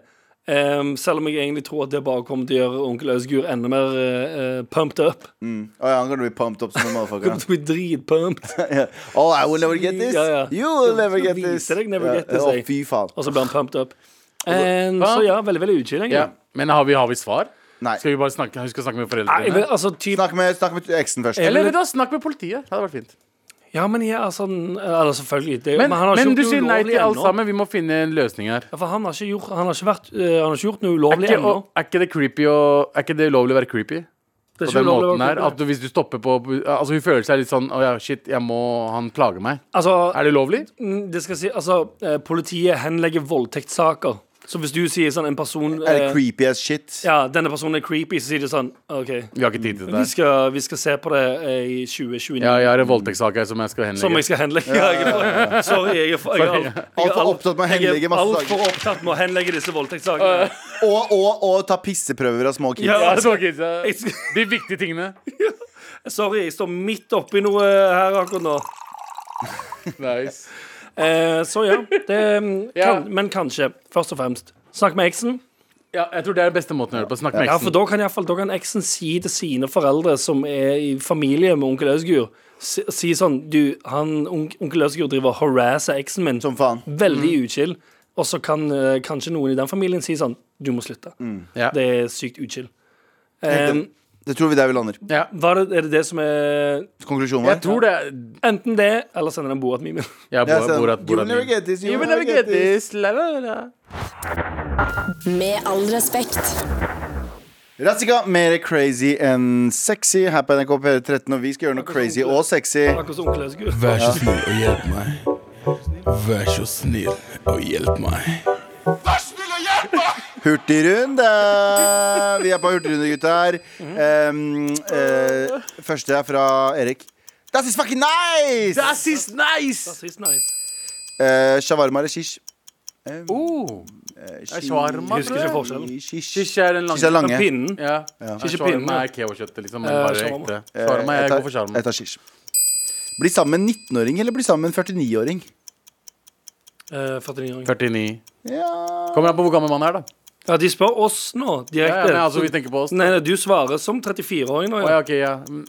Ehm, selv om jeg egentlig tror at det bare kommer til å gjøre onkel Øzgur enda mer eh, eh, pumped up.
Å ja, han kommer til å bli pumped opp som en motherfucker.
Kommer til å bli dritpumped.
Ja. Oh, I will never get this.
Ja, ja.
You will never
Jeg
get
viste
this.
deg never
Ja,
get this,
Å,
jeg.
fy faen.
Og så blir han pumped up. Ehm,
Hva?
så ja, veldig veldig uchill. egentlig.
Ja. Men har vi, har vi svar?
Nei.
Skal vi bare snakke, huske å snakke med
Nei, jeg
foreldrene?
vet, altså, typ,
Snakk med, snakk med eksen først.
Eller vet du, hva, snakk med politiet. Det hadde vært fint.
ja, men jeg, altså, n- Eller selvfølgelig. Det,
Men,
men han har ikke
men du
gjort
sier
noe
nei
ulovlig
til alt
ennå.
sammen. Vi må finne en løsning her.
Ja, for han har ikke gjort, han har ikke vært, eh, han har ikke gjort noe
Er
ulovlig
ikke,
ennå.
og, er ikke det creepy å, Er ikke det ulovlig å være creepy?
Det
På
er ikke
den
ulovlig å
måten
være
her
creepy.
At du, Hvis du stopper på Altså Hun føler seg litt sånn Å ja, shit, jeg må Han plager meg.
Altså,
Er det ulovlig?
Mm, Det skal si, altså eh, Politiet henlegger voldtektssaker. Så hvis du sier sånn en person
Er det
eh,
creepy as shit?
Ja, denne personen er creepy, så sier de sånn OK,
Vi har ikke tid til det
vi
der.
skal, vi skal se på det eh, i 2029.
Ja, jeg har en voldtektssak her som jeg skal
Som jeg
henlegge.
skal henlegge. Sorry, jeg er for, jeg er alt- jeg
Alt
er
for
alt-
opptatt med å henlegge
jeg er
masse
alt
saker.
for opptatt med å henlegge disse voldtektssakene.
Og, og, og ta pisseprøver av små kids.
Ja.
Ja, så, ok, så-
Jeg skal-
de viktige tingene.
Sorry, jeg står midt oppi noe eh, her akkurat nå.
Nice.
Eh, så ja, det mm,
Ja.
kan, Men kanskje, først og fremst. Snakk med eksen.
Ja, jeg tror det er den beste måten å gjøre det på. Snakk med
Ja, for
eksen.
da kan, i hvert fall, da kan eksen si til sine foreldre som er i familie med onkel Øsgur si, si sånn Du, han, onk- onkel Øsgur driver og harasser eksen min.
Som faen.
Veldig uchill. Og så kan eh, kanskje noen i den familien si sånn Du må slutte.
Ja.
Det er sykt uchill.
Tenkte- Det tror vi der vi lander.
Ja.
Var det, er det det som er
Konklusjonen
Jeg
vår.
tror det er
Enten det, eller sender den Borat-memen.
Ja,
Ja, så-
Borat, Borat,
You will sånn,
Borat
never
min.
get this.
You will never get this. La, la, la, la.
Med all respekt.
Razzica, mer crazy enn sexy her på NRK P13. Og vi skal gjøre noe crazy og sexy.
Akkurat som onkel Øsgur.
Vær så snill og hjelp meg. Vær så snill og hjelp meg.
Hurtigrunde! Vi er på hurtigrunde, gutter.
Mhm.
Um, eh, første er fra Erik. That is fucking nice!
That is nice!
Sist nice.
Eh, shawarma eller shish? Eh,
Oh, shawarma,
Husker ikke
tror jeg.
forskjellen.
Shish
Shish er den lange.
Shish er lange.
Men pinnen
Ja.
Shish er
Shawarma
pinne.
er kebabkjøttet, liksom.
Eh,
Men bare
shawarma.
ekte.
Eh,
Shawarma, jeg
tar-
går for shawarma.
Jeg tar shish. Bli sammen med en 19-åring eller bli sammen med en 49-åring?
eh, 49-åring.
49.
Ja.
Kommer an på hvor gammel man er, da.
Ja, de spør oss nå,
Ja, ja,
direkte.
men altså, vi tenker på oss.
Nei, nei, du svarer som 34-åring nå.
Å, ja, ok, ja. Mm,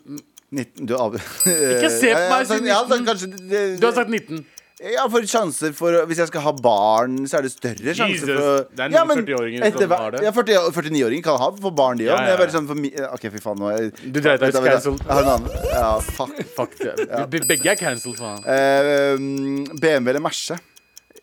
19, du av...
Ikke se på meg, si
Jeg har sagt kanskje det-
Du har sagt 19.
Ja, for sjanser for å- Hvis jeg skal ha barn, så er det større sjanser
Jesus,
for å
det er noen
ja, men
40-åringer
etter
som
hver-
har det.
Ja, 40 49-åringer kan ha for barn, de òg.
Ja,
Men jeg er
ja,
bare sånn for mi OK, fy faen. Nå er jeg,
Du dreit deg
Vent
ut.
da, vent da.
Cancelled.
Jeg har en annen. Ja, fuck.
Fuck det. Be- Begge er cancelled, faen.
ehm, Eh, BMW eller Merce?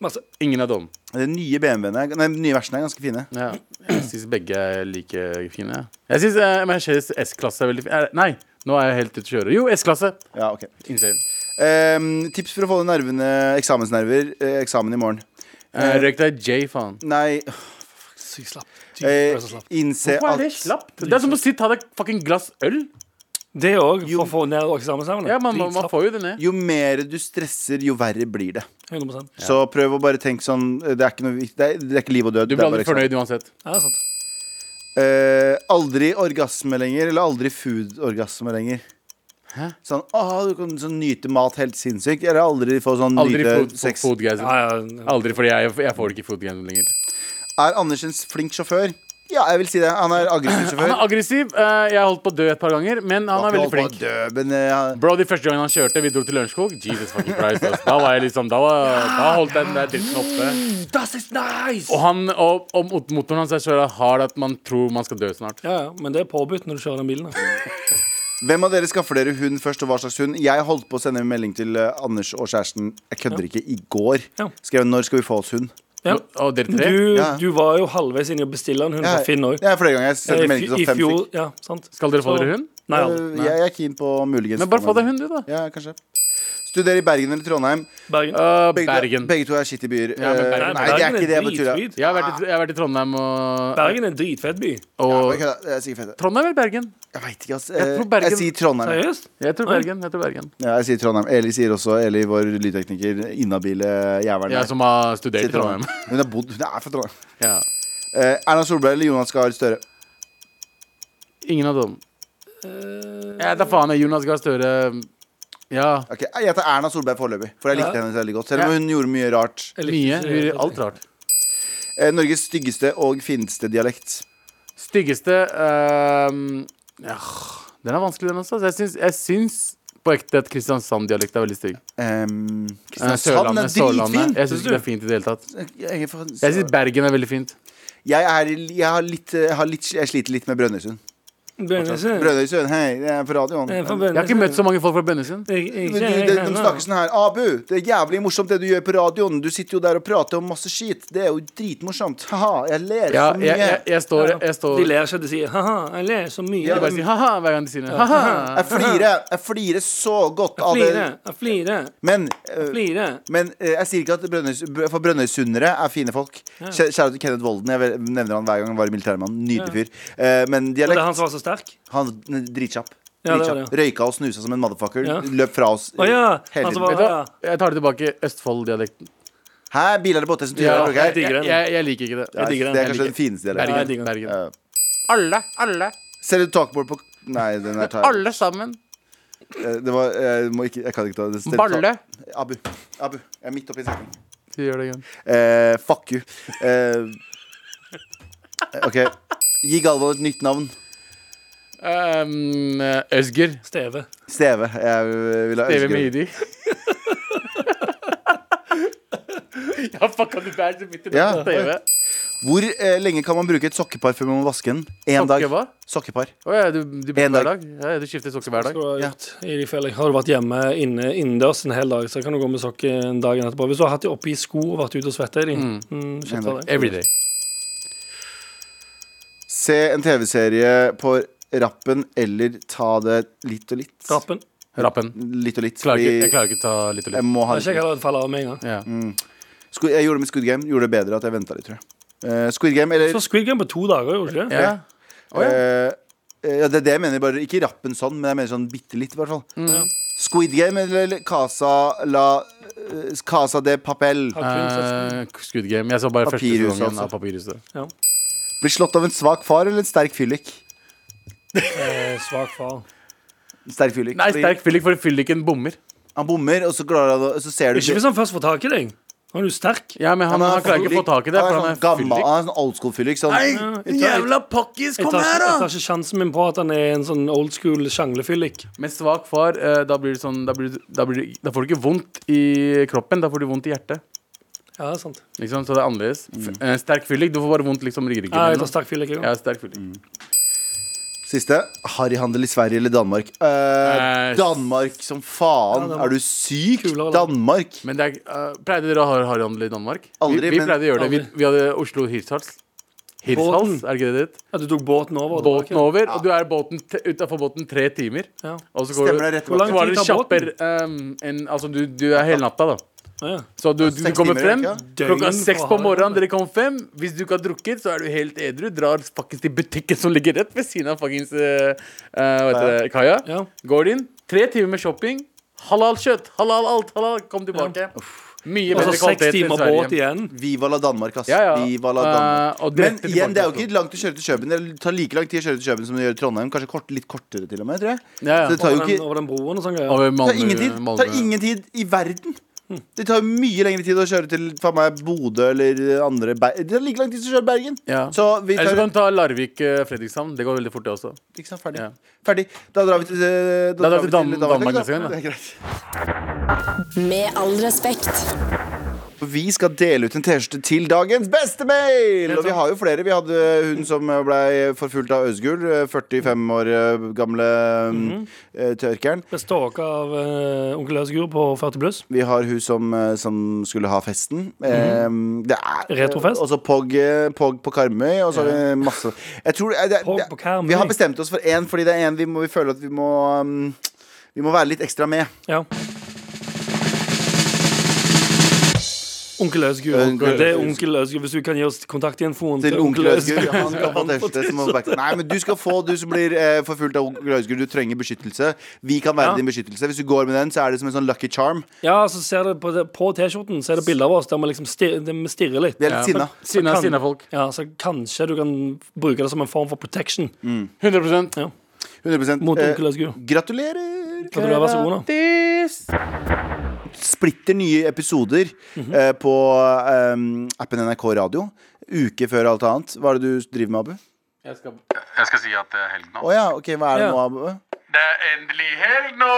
Masse.
Ingen av dem.
Den nye BMW-ene er- Nei, den nye versene er ganske fine.
Ja. Jeg syns begge er like fine. jeg. Jeg syns eh, Mercedes S-klasse er veldig fin. Eh, Nei, nå er jeg helt ute å kjøre. Jo, S-klasse.
Ja, ok
Insane.
Ehm, Tips for å få ned nervene eksamensnerver. Eh, eksamen i morgen.
Eh, Røyk deg J, faen.
Nei,
Sykt slapp. Ty,
eh,
så slapp.
innse
Hvorfor er det
at
slapt? Det er som å
liksom?
si ta deg fucking glass øl.
Det òg, for å få ned eksamensevnen.
Ja, man, man, man
Dritslapp.
får jo det ned.
jo mer du stresser, jo verre blir det.
100
Så prøv å bare tenke sånn eh, Det er ikke, noe, vik- det er, det er ikke liv og død.
Du
det
blir
er bare
aldri
eksamen.
fornøyd uansett.
Ja, det er sant.
Eh, aldri orgasme lenger, eller aldri food-orgasme lenger.
Hæ?
Sånn, ah, du kan sånn, nyte mat helt sinnssykt. Eller aldri få sånn
Aldri
nyte
food,
sex.
foodgasm.
Ja, ja.
Aldri, fordi jeg, jeg får ikke foodgasm lenger.
Er Andersens flink sjåfør? Ja, jeg vil si det. Han er aggressiv
Han er
sjåfør.
aggressiv. eh, Jeg har holdt på å dø et par ganger, men han er veldig flink.
Død, men, eh, han-
Bro, De første gangen han kjørte, vi dro til Lørenskog. Jesus fucking Christ. ass. Da var jeg liksom, da, var, da holdt den der dritten oppe.
That is nice!
Og, han, og, og mot- motoren hans er så hard at man tror man skal dø snart.
Ja, ja, men det er påbudt når du kjører den bilen. da.
hvem av dere skaffer dere hund først, og hva slags hund? Jeg holdt på å sende en melding til eh, Anders og kjæresten Jeg kødder ikke, i går.
Ja.
Skrev 'Når skal vi få oss hund?'
Ja.
Og dere tre?
Du,
Ja.
du var jo halvveis inn i å bestille en hund fra
Jeg,
Finn òg.
jeg, flere ganger. Jeg
Eh,
sendte melding til
Eh,
sånn
I
fem
fjor.
stykker.
Ja, sant.
Skal dere få
Så-
dere hund?
Nei, aldri.
Eh, Jeg er keen på muligens
Men bare få deg hund, du, da.
Ja, kanskje. Studere i Bergen eller Trondheim.
Bergen.
Øh,
Begge,
Bergen.
begge to er shitty byer.
Ja, men
Eh,
Bergen-
nei, det er
Eh, Bergen
ikke det jeg
dritfint.
betyr.
Jeg har, vært i, jeg har vært i Trondheim og,
Bergen er en dritfett by.
og
Jeg, jeg sier fete.
Trondheim eller Bergen?
Jeg veit ikke, ass.
Jeg
Eh,
tror Bergen-
Jeg sier Trondheim. jeg.
Seriøst?
Jeg tror
Nei.
Bergen. jeg tror Bergen
Ja, jeg sier Trondheim. Eli sier også, Eli, vår lydtekniker, inhabile jævelen.
Jeg
her,
som har studert i
sier Trondheim.
Trondheim.
Hun er bodd Hun er fra Trondheim.
Ja.
Eh, Erna Solberg eller Jonas Gahr Støre?
Ingen av dem. Jeg vet da faen. jeg, Jonas Gahr Støre Ja.
Ok, Jeg tar Erna Solberg foreløpig, for jeg likte henne veldig godt. Selv om
Ja.
hun gjorde mye rart.
Jeg likte
Mye.
ikke- altså.
Hun gjør alt rart.
Eh, Norges styggeste og fineste dialekt.
Styggeste ehm, ja, Den er vanskelig, den også. Så Jeg syns, jeg syns på ekte at Kristiansand-dialekt er veldig stygg.
Um,
Eh,
Kristiansand er dritfin!
Jeg syns ikke det er fint i det hele tatt.
Jeg, er fra-
Jeg syns Bergen er veldig fint.
jeg, er, jeg, har litt, jeg, har litt, jeg sliter litt med Brønnøysund.
Brønnøysund.
Brønnøysund, hei, jeg er på radioen.
Jeg er fra
Men
Jeg har ikke møtt så mange folk fra Bønnesund.
Jeg- jeg-
du, de, de snakker sånn her Abu, det er jævlig morsomt det du gjør på radioen. Du sitter jo der og prater om masse skit. Det er jo dritmorsomt. Haha, jeg ler
Ja,
så
jeg,
mye.
jeg, jeg står, jeg står
De ler ikke, de sier ha-ha, jeg ler så mye.
De bare sier ha-ha hver gang de sier det. Ha-ha.
Jeg flirer. Jeg flirer så godt av det.
Flire, jeg flirer,
Men, eh,
flire.
men eh, jeg sier ikke at Brønnøys- Br- for brønnøysundere er fine folk. Kjæ- Kjære til Kenneth Volden. Jeg vel- nevner han hver gang han var i militærmann. Nydelig fyr. Eh, Men
Og det er
dialekt
han som var så sterk?
Han er dritkjapp.
Ja, det var
Dritkjapp. Røyka og snusa som en motherfucker.
Ja.
Løp fra oss.
Å ja,
hele
han som
tiden.
var-
Vet du hva? Jeg tar det tilbake. Østfold-dialekten.
Hæ, biler og båter som
Ja,
turer? ok?
jeg
Jeg,
digger den.
jeg, jeg liker ikke det.
Nei,
digger den.
Det er
Jeg
kanskje
liker
den fineste dialekten.
Jeg
Bergen.
digger den.
Bergen.
Eh,
Alle, alle,
Ser du takbord på Nei, den er tar
alle sammen.
Eh, Det var eh, må ikke, Jeg kan ikke ta det. Ser du
Balle.
tak- Abu. Abu. Jeg er midt oppi en setning.
Du gjør det igjen.
Eh, fuck you. Eh, OK. Gi Galvan et nytt navn.
Um, Øsger.
Steve.
Steve. Jeg vil ha
TV med
Øsger.
ID. ja, fuck, kan du bære så bitte
Ja.
på TV?
Hvor eh, lenge kan man bruke et sokkepar før man må vaske den? Én dag.
Sokke hva?
Sokkepar.
Å ja, du, du bruker
En dag.
hver dag? Ja, du skifter sokker hver dag?
Skal du ha
Ja.
gjort i de fellene. Har du vært hjemme inne innendørs en hel dag, så kan du gå med sokker en dag etterpå. Hvis du har hatt de oppe i sko og vært ute og svetta i de mm. shit for deg.
Every day.
Se en TV-serie på rappen eller ta det litt og litt.
Rappen.
Rappen.
Litt og litt.
Klarer ikke,
fordi
jeg klarer ikke ta litt og
jeg
litt.
må ha
Jeg
litt.
kjekker heller at det faller av med en gang.
Ja.
Mm. Squid- Jeg gjorde det med Squid Game. Gjorde det bedre at jeg venta litt, tror jeg. Eh, Squid Game eller
Så Squid Game på to dager, gjorde du ikke det?
Ja. Å, ja.
Eh, ja, det er det jeg mener. Bare, ikke rappen sånn, men jeg mener sånn bitte litt, i hvert fall.
Mm.
Ja.
Squid Game eller Casa la eh, Casa de Papel.
Har kun sett-
Eh, Squid Game. Jeg så bare første
Papirhuset,
sesongen
altså.
av Papirhuset.
Blir slått av en svak far eller en sterk fyllik?
eh, Svak far.
En Sterk fyllik.
Nei,
Fordi
sterk fyllik, for fylliken bommer.
Han bommer, og så, klarer han, å- så ser du
Ikke hvis han først får tak i deg. Han er jo sterk.
Ja, men han,
er
sånn. han, klarer ikke å
fyllik.
få tak i det, for han
sånn
er
gammel,
fyllik. Mm,
han er sånn old school-fyllik. Sånn,
en jævla pakkis,
Jeg tar, ikke, jeg tar ikke sjansen min på at han er en sånn old school sjanglefyllik.
Med svak far, eh, da blir det sånn da, blir, det- da, blir, det- da får du ikke vondt i kroppen, da får du vondt i hjertet.
Ja, det er sant.
Ikke sant? Så det er
Mm.
annerledes. F- eh, sterk fyllik, du får bare vondt liksom i ryggen.
Ja, jeg
eller
Mm.
tar sterk fyllik. jeg
noe.
også.
ja, sterk fyllik.
Siste. Harryhandel i Sverige eller Danmark? Eh,
Eh,
Danmark som faen.
Ja, Danmark.
er du syk?
Kulere land.
Danmark.
Men det er, eh, pleide dere å ha harryhandel i Danmark?
Aldri,
vi, vi
men-
pleide å gjøre det. Vi, vi hadde Oslo Hirtshals. Hirtshals,
Båten.
er ikke det det het?
Ja, du tok båten over. og det var
Båten over, og du er båten te- utenfor båten tre timer.
ikke- Ja.
Og så går
Stemmer det
du
rett
Hvor
bak?
lang
så var
tid
det
tar båten?
kjapper ehm, en, Altså, du, du er hele natta, da.
Ja, ja.
Så du, du
Seks
kommer
timer,
frem
ikke?
Døgn
klokka seks
for
på
harryhandel.
morgenen. Dere kommer frem. Hvis du ikke har drukket, så er du helt edru. Drar faktisk til butikken som ligger rett ved siden av fuckings eh, eh, hva heter det, kaia.
Ja.
Går inn. Tre timer med shopping. Halal kjøtt. Halal alt. Halal. Kom tilbake. Mye
Og så
bedre
Altså, seks
kvalitet enn
timer båt
Sverige.
igjen.
Viva la Danmark, ass.
Ja, ja.
Viva la Danmark.
Eh, og
Men
direkte
igjen, det er jo
tilbake.
ikke langt å kjøre til København. Det tar like lang tid å kjøre til København som det gjør til Trondheim. Kanskje kort, litt kortere, til og med. tror jeg
Ja, ja.
Så det tar jo
Over den,
ikke
over den broen og sånn greier.
Over
det
Malmö-
tar ingen tid. Det tar
Malmö.
ingen tid i verden. Det tar jo mye lengre tid å kjøre til faen meg, Bodø eller andre Ber Det tar like lang tid som å kjøre Bergen.
Ja.
Så vi
Eller
tar
så kan du ta Larvik-Fredrikshavn. Det går veldig fort, det også.
ikke sant, ferdig.
Ja.
ferdig. Da drar vi til, eh,
Da
drar
drar vi
vi
til Dan- Danmark
da.
neste gang, da.
Det er greit.
Med all respekt.
Vi skal dele ut en T-skjorte til dagens beste mail! Og vi har jo flere. Vi hadde hun som ble forfulgt av Øzgul. 45 år eh, gamle
Mhm.
eh, tørkeren.
Ble stalka av eh, onkel Øsgur på 40 pluss.
Vi har hun som, eh, som skulle ha festen. Eh, det er
Mhm. Retrofest.
Og så Pog, eh, Pog på Karmøy. Og så har vi masse jeg tror, eh, det,
Pog
det-
på Karmøy.
Vi har bestemt oss for én, fordi det er én vi, må- vi føler at vi må um, Vi må være litt ekstra med.
Ja. Onkel Øsgur.
Onkel
Det er onkel Øsgur. Hvis du kan gi oss kontaktinfoen
Til onkel Øsgur.
Øsgur.
Han skal få T-skjorte som han back- Nei, men du skal få, du som blir eh, forfulgt av onkel Øsgur. Du trenger beskyttelse. Vi kan være
Ja.
din beskyttelse. Hvis du går med den, så er det som en sånn lucky charm.
Ja, så ser du på, det- på T-skjorten Så er det bilder av oss der vi liksom stirrer, vi stirrer litt.
Vi er litt sinna.
Sinna,
Kan-
sinna folk.
Ja, så kanskje du kan bruke det som en form for protection
100
ja,
100
mot
Eh,
onkel Øsgur.
Gratulerer!
Kan du være så god, da?
Splitter nye episoder eh, på eh, appen NRK Radio. Uke før alt annet. Hva er det du driver med, Abu?
Jeg skal
Jeg skal si at det er helg
Å
nå.
ja, ok, hva er det
Ja.
nå, Abu?
Det er endelig helg nå!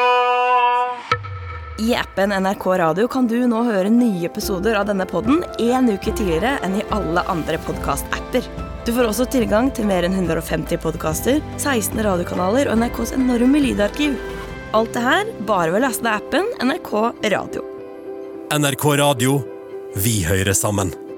I appen NRK Radio kan du nå høre nye episoder av denne podden en uke tidligere enn i alle andre podcast-apper. Du får også tilgang til mer enn 150 podcaster, 16 radiokanaler og NRKs enorme lydarkiv. Alt det her bare ved å laste ned appen NRK Radio.
NRK Radio. Vi hører sammen.